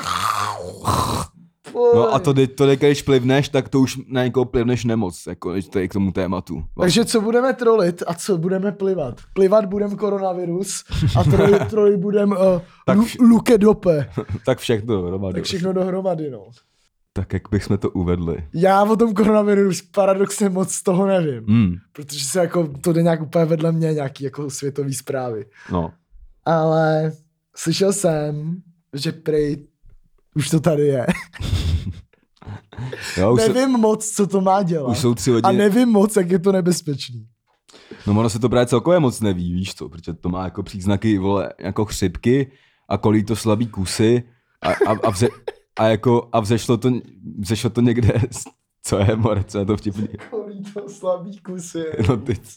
A: No a to, de- to de- když plivneš, tak to už na někoho plivneš nemoc, jako když to je k tomu tématu. No.
B: Takže co budeme trolit a co budeme plivat? Plivat budem koronavirus a trolit, trolit budem uh,
A: Tak
B: lu,
A: vš-
B: Luke Dope.
A: tak všechno dohromady.
B: Tak všechno dohromady, no.
A: tak jak bychom to uvedli.
B: Já o tom koronaviru už paradoxně moc toho nevím,
A: Hmm,
B: protože se jako to jde nějak úplně vedle mě, nějaký jako světový zprávy.
A: no.
B: Ale slyšel jsem, že prej už to tady je.
A: Já už, se,
B: nevím moc, co to má dělat.
A: už jsou tři
B: a
A: hodiny.
B: nevím moc, jak je to nebezpečný.
A: No ono se to právě celkově moc neví, víš co, protože to má jako příznaky, vole, jako chřipky a kolí to slabý kusy a, a, a, vze, a jako, a vzešlo to, vzešlo to někde, z- co je, more, co je to vtipný.
B: Kolí to slabý kusy.
A: No ty. c-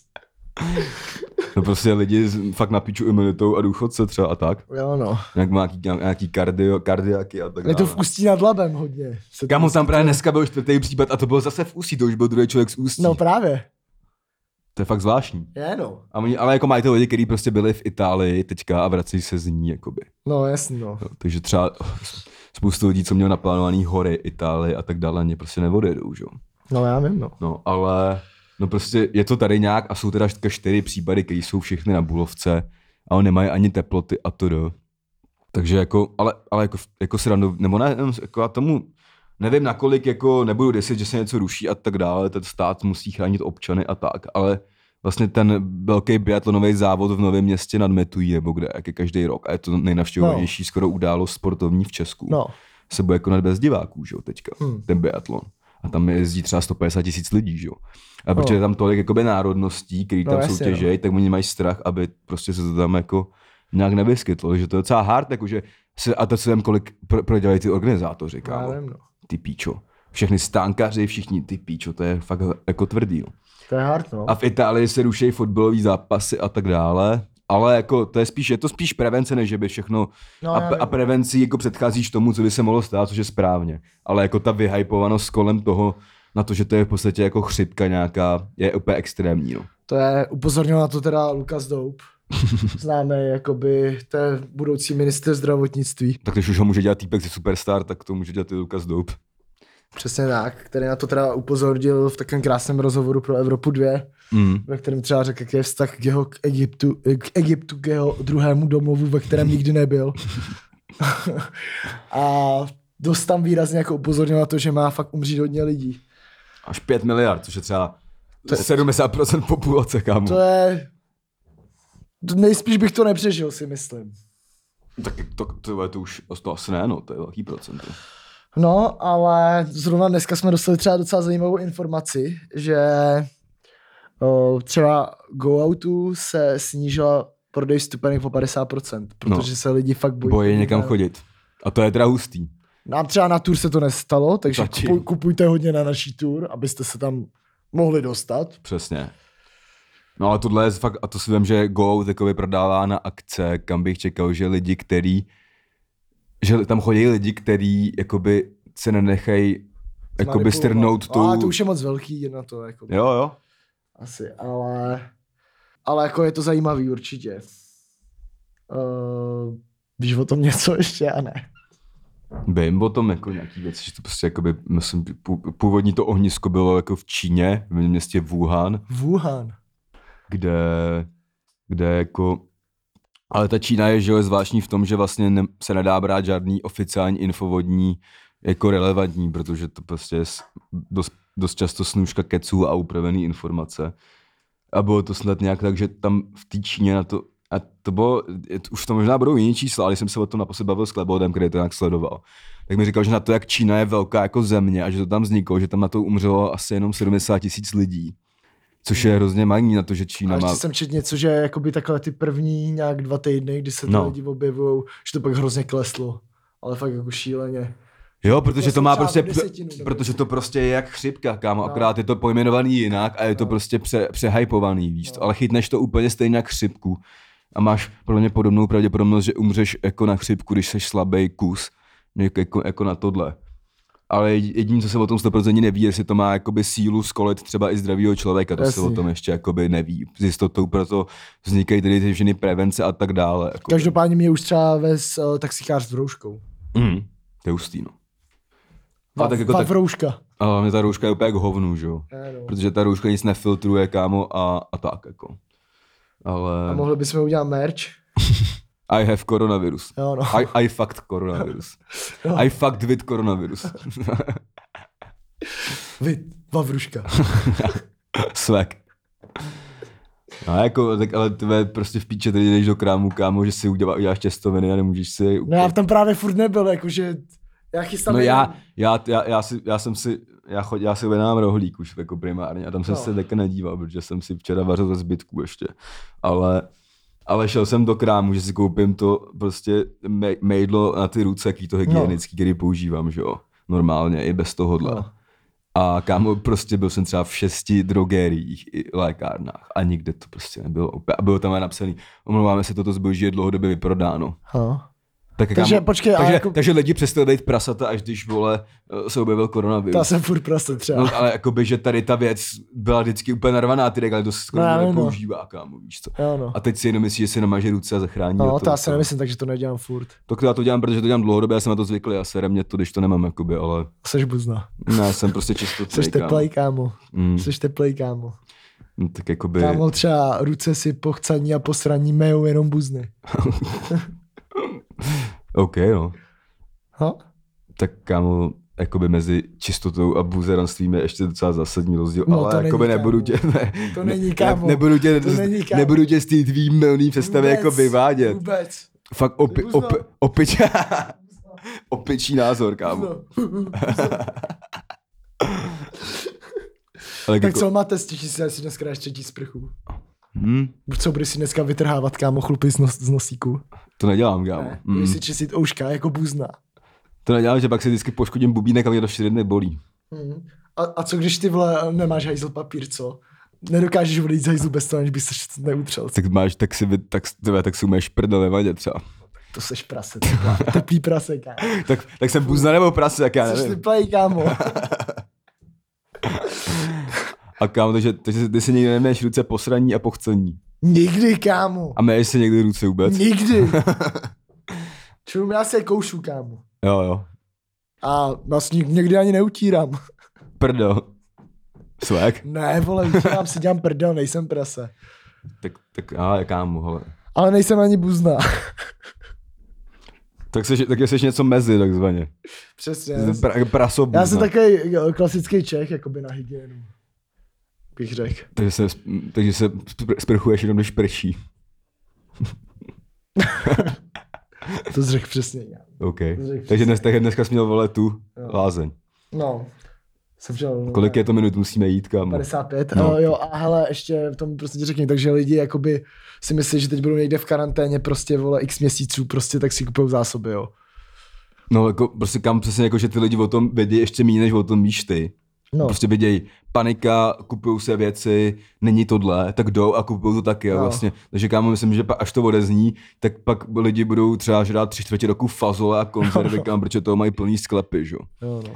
A: No prostě lidi s fakt na piču imunitou a důchodce třeba a tak.
B: Jo no.
A: Nějak má nějaký, nějaký kardio, kardiaky a tak
B: Je
A: dále.
B: to v Ústí nad Labem hodně. Se to-
A: Kámo, tam právě dneska byl čtvrtý případ a to bylo zase v Ústí, to už byl druhý člověk z Ústí.
B: No právě.
A: To je fakt zvláštní.
B: Je no.
A: A oni, ale jako mají to lidi, kteří prostě byli v Itálii teďka a vrací se z ní, jakoby.
B: No jasný no.
A: Jo, takže třeba spoustu lidí, co měl naplánovaný hory Itálie a tak dále, mě prostě neodjedou, že jo.
B: No já vím no.
A: No, ale no prostě je to tady nějak a jsou teda teďka čtyři případy, které jsou všechny na Bulovce, ale nemají ani teploty a to do. Takže jako, ale, ale jako, jako se nebo ne, nevím, jako já tomu, nevím nakolik, jako nebudu desit, že se něco ruší a tak dále, ten stát musí chránit občany a tak, ale vlastně ten velký biatlonový závod v Novém městě nad Metují, nebo kde, jak je každý rok, a je to nejnavštěvovanější no. skoro událost sportovní v Česku
B: No.
A: se bude konat bez diváků, že jo, teďka,
B: Hmm.
A: hmm. ten biatlon. A tam jezdí třeba 150 tisíc lidí, že jo. A protože je tam tolik jakoby národností, který
B: No,
A: tam
B: jasně,
A: soutěžejí, tak oni mají strach, aby prostě se to tam jako nějak nevyskytlo, že to je docela hard, jakože se, a to co tam kolik pro, prodělají ty organizátoři,
B: Já
A: kámo,
B: vím no.
A: ty píčo. Všechny stánkaři, všichni ty píčo, to je fakt jako tvrdý. No.
B: To je hard no.
A: A v Itálii se ruší fotbalové zápasy a tak dále. Ale jako to je spíš, je to spíš prevence, než že by všechno
B: No,
A: no, a,
B: já
A: pe- a
B: vím.
A: prevencí jako předcházíš tomu, co by se mohlo stát, což je správně. Ale jako ta vyhypovanost kolem toho, na to, že to je v podstatě jako chřipka nějaká, je úplně extrémní. No.
B: To je, upozornil na to teda Lukas Doub. Známe jakoby, to je budoucí minister zdravotnictví.
A: Tak když už ho může dělat týpek ze Superstar, tak to může dělat i Lukas Doub.
B: Přesně tak, který na to teda upozornil v takovém krásném rozhovoru pro Evropu 2,
A: Mm.
B: ve kterém třeba řekl, jak je vztah k jeho k Egyptu, k Egyptu, k jeho druhému domovu, ve kterém nikdy nebyl. a dost tam výrazně jako upozornil na to, že má fakt umřít hodně lidí.
A: Až 5 miliard, což je třeba
B: To-
A: 70% populace, kámo.
B: To je... Nejspíš bych to nepřežil, si myslím.
A: Tak to, to, to, to už to asi ne, no, to je velký procent.
B: No, ale zrovna dneska jsme dostali třeba docela zajímavou informaci, že o, třeba Go Outu se snížila prodej vstupenek po 50%, protože no. se lidi fakt bojí.
A: Boje někam chodit. A to je teda hustý.
B: Nám třeba na tour se to nestalo, takže
A: Zatím.
B: kupuj, kupujte hodně na naší tour, abyste se tam mohli dostat.
A: Přesně. No ale tohle je fakt, a to si vím, že Go takový prodává na akce, kam bych čekal, že lidi, který, že tam chodí lidi, který jakoby se nenechají jakoby
B: Manipulovat.
A: strnout Jako tu...
B: A to už je moc velký, jedna to jako
A: Jo, jo.
B: asi, ale, ale jako je to zajímavý určitě. Uh, víš o tom něco ještě a ne?
A: Vím o tom jako nějaký věci, že to prostě jakoby, myslím, pů- původní to ohnisko bylo jako v Číně, v městě Wuhan,
B: Wuhan.
A: kde, kde jako... Ale ta Čína je, že jo, zvláštní v tom, že vlastně ne, se nedá brát žádný oficiální infovodní jako relevantní, protože to prostě je s- dost, dost často snůžka keců a upravený informace. A bylo to snad nějak tak, že tam v té Číně na to, a to bylo, je to- už to možná budou jiný čísla, ale když jsem se o tom naposled bavil s Klebodem, který to nějak sledoval, tak mi říkal, že na to, jak Čína je velká jako země a že to tam vzniklo, že tam na to umřelo asi jenom 70 tisíc lidí. Což je hrozně magní na to, že
B: A
A: Čína
B: ještě
A: má...
B: jsem četl něco, že jakoby takhle ty první nějak dva týdny, kdy se ty no.
A: No.
B: lidi objevují, že to pak hrozně kleslo. Ale fakt jako šíleně.
A: Jo, protože to má
B: Kleslo třeba
A: prostě,
B: o desetinu, No. nebo-
A: protože to prostě je jak chřipka, kámo, akorát je to pojmenovaný jinak a je to prostě pře, přehypovaný, víš,
B: No.
A: ale chytneš to úplně stejně jak chřipku a máš podle mě podobnou pravděpodobnost, že umřeš jako na chřipku, když jsi slabý kus, jak- jako, jako na tohle. Ale jediný, co se o tom 100% neví, jestli to má jakoby sílu skolit třeba i zdravýho člověka, to se
B: Jasně.
A: o tom ještě jakoby neví. S jistotou proto vznikají tedy ty všechny prevence a tak dále. Jako.
B: eh,
A: Mhm.
B: Každopádně mě už třeba vez uh, taxikář s rouškou.
A: Mm, to je hustý, no. A tak jako tak,
B: Vavrouška.
A: a hlavně ta rouška je úplně jak hovnu, že jo. Protože ta rouška nic nefiltruje, kámo, a, a tak jako.
B: A
A: Ale
B: mohli bychom udělat merch.
A: I have coronavirus.
B: Jo, no.
A: I, I fucked coronavirus. I fucked with coronavirus.
B: Vy, Vavruška.
A: Swag. No jako, tak ale tvé prostě v píče teď jdeš do krámu, kámo, že si udělá, uděláš těstoviny a nemůžeš si...
B: No já tam právě furt nebyl, jakože já chystám...
A: no
B: jenom-
A: já, já, já, já, si, já jsem si, já, chod, já si objednám rohlík už jako primárně a tam jsem
B: No.
A: no. se taky nedíval, protože jsem si včera vařil ze zbytku ještě. Ale, ale šel jsem do krámu, že si koupím to prostě me- mejdlo na ty ruce, jaký to hygienický, no. který používám, že jo, normálně, i bez tohohle.
B: No.
A: No. A kámo, prostě byl jsem třeba v šesti drogériích i lékárnách a nikde to prostě nebylo. opě- A bylo tam aj napsaný, omlouváme se, toto zboží je dlouhodobě vyprodáno.
B: Ha.
A: Tak,
B: Takže počkej, a
A: takže,
B: jako-
A: takže lidi přestali být prasata, až když vole eh, se objevil
B: To já
A: koronavirus.
B: jsem furt prostě třeba.
A: No, ale jakoby, že tady ta věc byla vždycky úplně narvaná, ty regály to se skoro
B: No, já
A: no,
B: vím, no.
A: nepoužívá, kámo, víš co.
B: Jo, no.
A: A teď si jenom myslíš, že si namaže ruce a zachrání.
B: No,
A: a
B: to já si nemyslím, takže to nedělám furt.
A: To, já to dělám, protože to dělám dlouhodobě, já jsem na to zvyklý a sere mě to, když to nemám, jakoby, ale
B: Seš buzna.
A: ne, já jsem prostě často
B: Seš teplej, kámo.
A: Mm,
B: Seš teplej, kámo.
A: no, tak jakoby,
B: Kámo, třeba ruce si po chcaní a po sraní mejou jenom buzny.
A: OK, no.
B: Ha?
A: Tak kámo, jakoby mezi čistotou a buzeranstvím je ještě docela zásadní rozdíl,
B: No, to
A: ale
B: není,
A: jakoby nebudu
B: kámo.
A: tě, ne,
B: To
A: ne-
B: není,
A: ne-
B: kámo.
A: nebudu tě,
B: To není, kámo.
A: nebudu tě z té tvý milný představy
B: Vůbec,
A: jako vyvádět.
B: Vůbec.
A: Fakt opi,
B: Uznám.
A: opi, opič, opičí názor, kámo.
B: No.
A: Ale
B: Tak
A: jako,
B: co máte, stěží se asi dneska ještě dí sprchu.
A: hm,
B: Co budeš si dneska vytrhávat, kámo, chlupy z, nos, z nosíku?
A: to nedělám, kámo.
B: Ne,
A: Mm.
B: budeš si čistit ouška jako buzna.
A: To nedělám, že pak si vždycky poškodím bubínek a mě to 4 dny bolí.
B: Mhm. A, a co když ty vole nemáš hajzl papír, co? Nedokážeš odejít z hajzlu bez toho, aniž bys se neutřel.
A: Tak máš, tak si, vy- tak, tvé, tak si umíš prdele vadě třeba.
B: To seš prase, ty vole. teplý prase, kámo.
A: Tak, tak jsem buzna nebo prase, jak já
B: Seš
A: nevím.
B: teplej, kámo.
A: A kámo, takže, takže ty si nikdy neměješ ruce posraní a pochcení.
B: Nikdy, kámo.
A: A měješ si někdy ruce vůbec?
B: Nikdy. Čum, já se koušu, kámo.
A: Jo, jo.
B: A vlastně někdy ani neutírám.
A: Prdel. Swag.
B: Ne, vole, utírám si, dělám prdel, nejsem prase.
A: Tak, tak a jaká mu, hele.
B: Ale nejsem ani buzna.
A: Tak, seš, tak jsi něco mezi, takzvaně.
B: Přesně.
A: Jsi Pra, no. prasobůzna.
B: Já jsem takový jo, klasický Čech, jakoby na hygienu. Bych řekl.
A: Takže se, takže se spr- sprchuješ jenom, když prší.
B: To jsi řekl přesně. Já.
A: OK.
B: Řekl
A: Takže dnes, tak dneska jsi měl vole tu lázeň.
B: No. Jsem přijel,
A: Kolik je to minut, musíme jít kam?
B: 55.
A: No.
B: No. jo, a hele, ještě v tom prostě ti řekni, takže lidi jakoby si myslí, že teď budou někde v karanténě prostě vole x měsíců, prostě tak si kupují zásoby, jo.
A: No jako prostě kam přesně jako, že ty lidi o tom vědí ještě méně, než o tom víš ty.
B: No.
A: No. Prostě vidějí panika, kupují se věci, není tohle, tak jdou a kupují to taky. No.
B: No.
A: Vlastně. Takže kámo, myslím, že pa, až to odezní, tak pak lidi budou třeba žrát tři čtvrtě roku fazole a konzervy, no. protože toho mají plný sklepy. Že? jo.
B: Jo, no.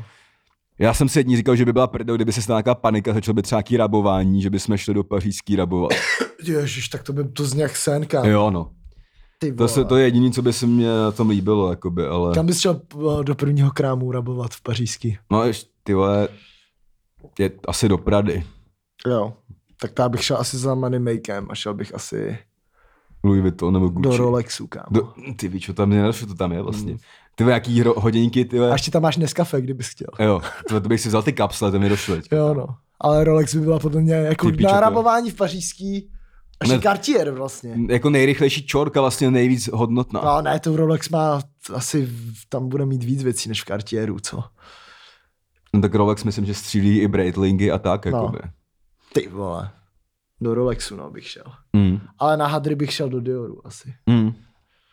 A: Já jsem si jední říkal, že by byla prdel, kdyby se stala nějaká panika, začalo by třeba nějaký rabování, že by jsme šli do pařížský rabovat.
B: Ježiš, tak to by to zní jak sen, kam.
A: jo, no.
B: Ty
A: To,
B: vole.
A: se, to je jediné, co by se mně na tom líbilo, jakoby, ale...
B: Kam bys šel eh, do prvního krámu rabovat v pařížský?
A: No, ještě, ty vole, je asi do Prady.
B: Jo. Tak ta bych šel asi za Moneymakem a šel bych asi
A: Louis Vuitton nebo Gucci.
B: do Rolexu, kámo.
A: Do, ty víš, co tam je, co to tam je
B: Hmm.
A: vlastně. Ty vole, jaký hro, hodinky, ty
B: A
A: vole.
B: ještě tam máš Nescafe, kdybys chtěl.
A: Jo, to, to bych si vzal ty kapsle, to mi došlo. teďka.
B: Jo, no. Ale Rolex by byla podle mě jako
A: Ty pičo, to je.
B: nárabování v pařížský. Až
A: Ne-
B: ne... Cartier vlastně.
A: Jako nejrychlejší čorka vlastně nejvíc hodnotná.
B: No ne, to Rolex má t- asi, v- tam bude mít víc věcí než v Cartieru, co?
A: No, tak Rolex myslím, že střílí i Breitlingy a tak,
B: No.
A: jakoby.
B: Ty vole. Do Rolexu, no, bych šel.
A: Mm.
B: Ale na Hadry bych šel do Dioru asi.
A: Mm.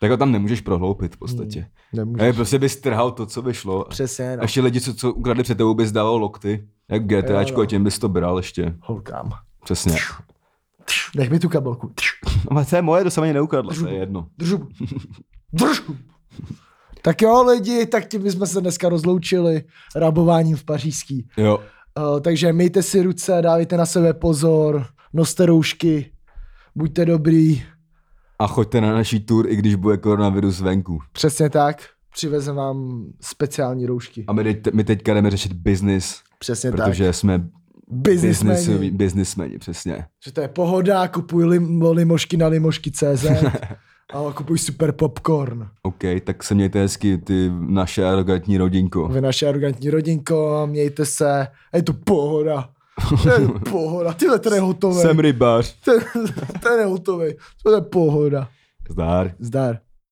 A: Tak ho tam nemůžeš prohloupit v podstatě.
B: Nemůžu.
A: Mm. Prostě bys trhal to, co by šlo.
B: Hmm. Přesně,
A: A
B: no.
A: ještě lidi, co, co ukradli před tebou, bys dával lokty. Jak
B: Jo,
A: GTAčko,
B: no.
A: a tím bys to bral ještě.
B: Holkám.
A: Přesně.
B: Tš, Nech mi tu kabelku. Tš,
A: No, ale to je moje, to jsem ani neukradla, to je jedno.
B: Držu. Držu. Tak jo, lidi, tak tím jsme se dneska rozloučili rabováním v pařížský.
A: Jo,
B: Uh, takže mějte si ruce, dávejte na sebe pozor, noste roušky, buďte dobrý,
A: a choďte na naší tour, i když bude koronavirus venku.
B: přesně tak. přivezem vám speciální roušky.
A: A my, teď, my teďka jdeme řešit biznis,
B: Přesně
A: protože
B: tak.
A: jsme
B: Businessmeni.
A: businessmeni, businessmeni, přesně.
B: Že to je pohoda, kupuj lim, limošky na limošky.cz a kupuj super popcorn.
A: OK, tak se mějte hezky, ty naše arrogantní rodinko.
B: Vy naše arrogantní rodinko, a mějte se. A je to pohoda. To je pohoda. Tyhle ten je hotový.
A: Jsem rybář.
B: Ten, ten je hotový. To je pohoda.
A: Zdar.
B: Zdar.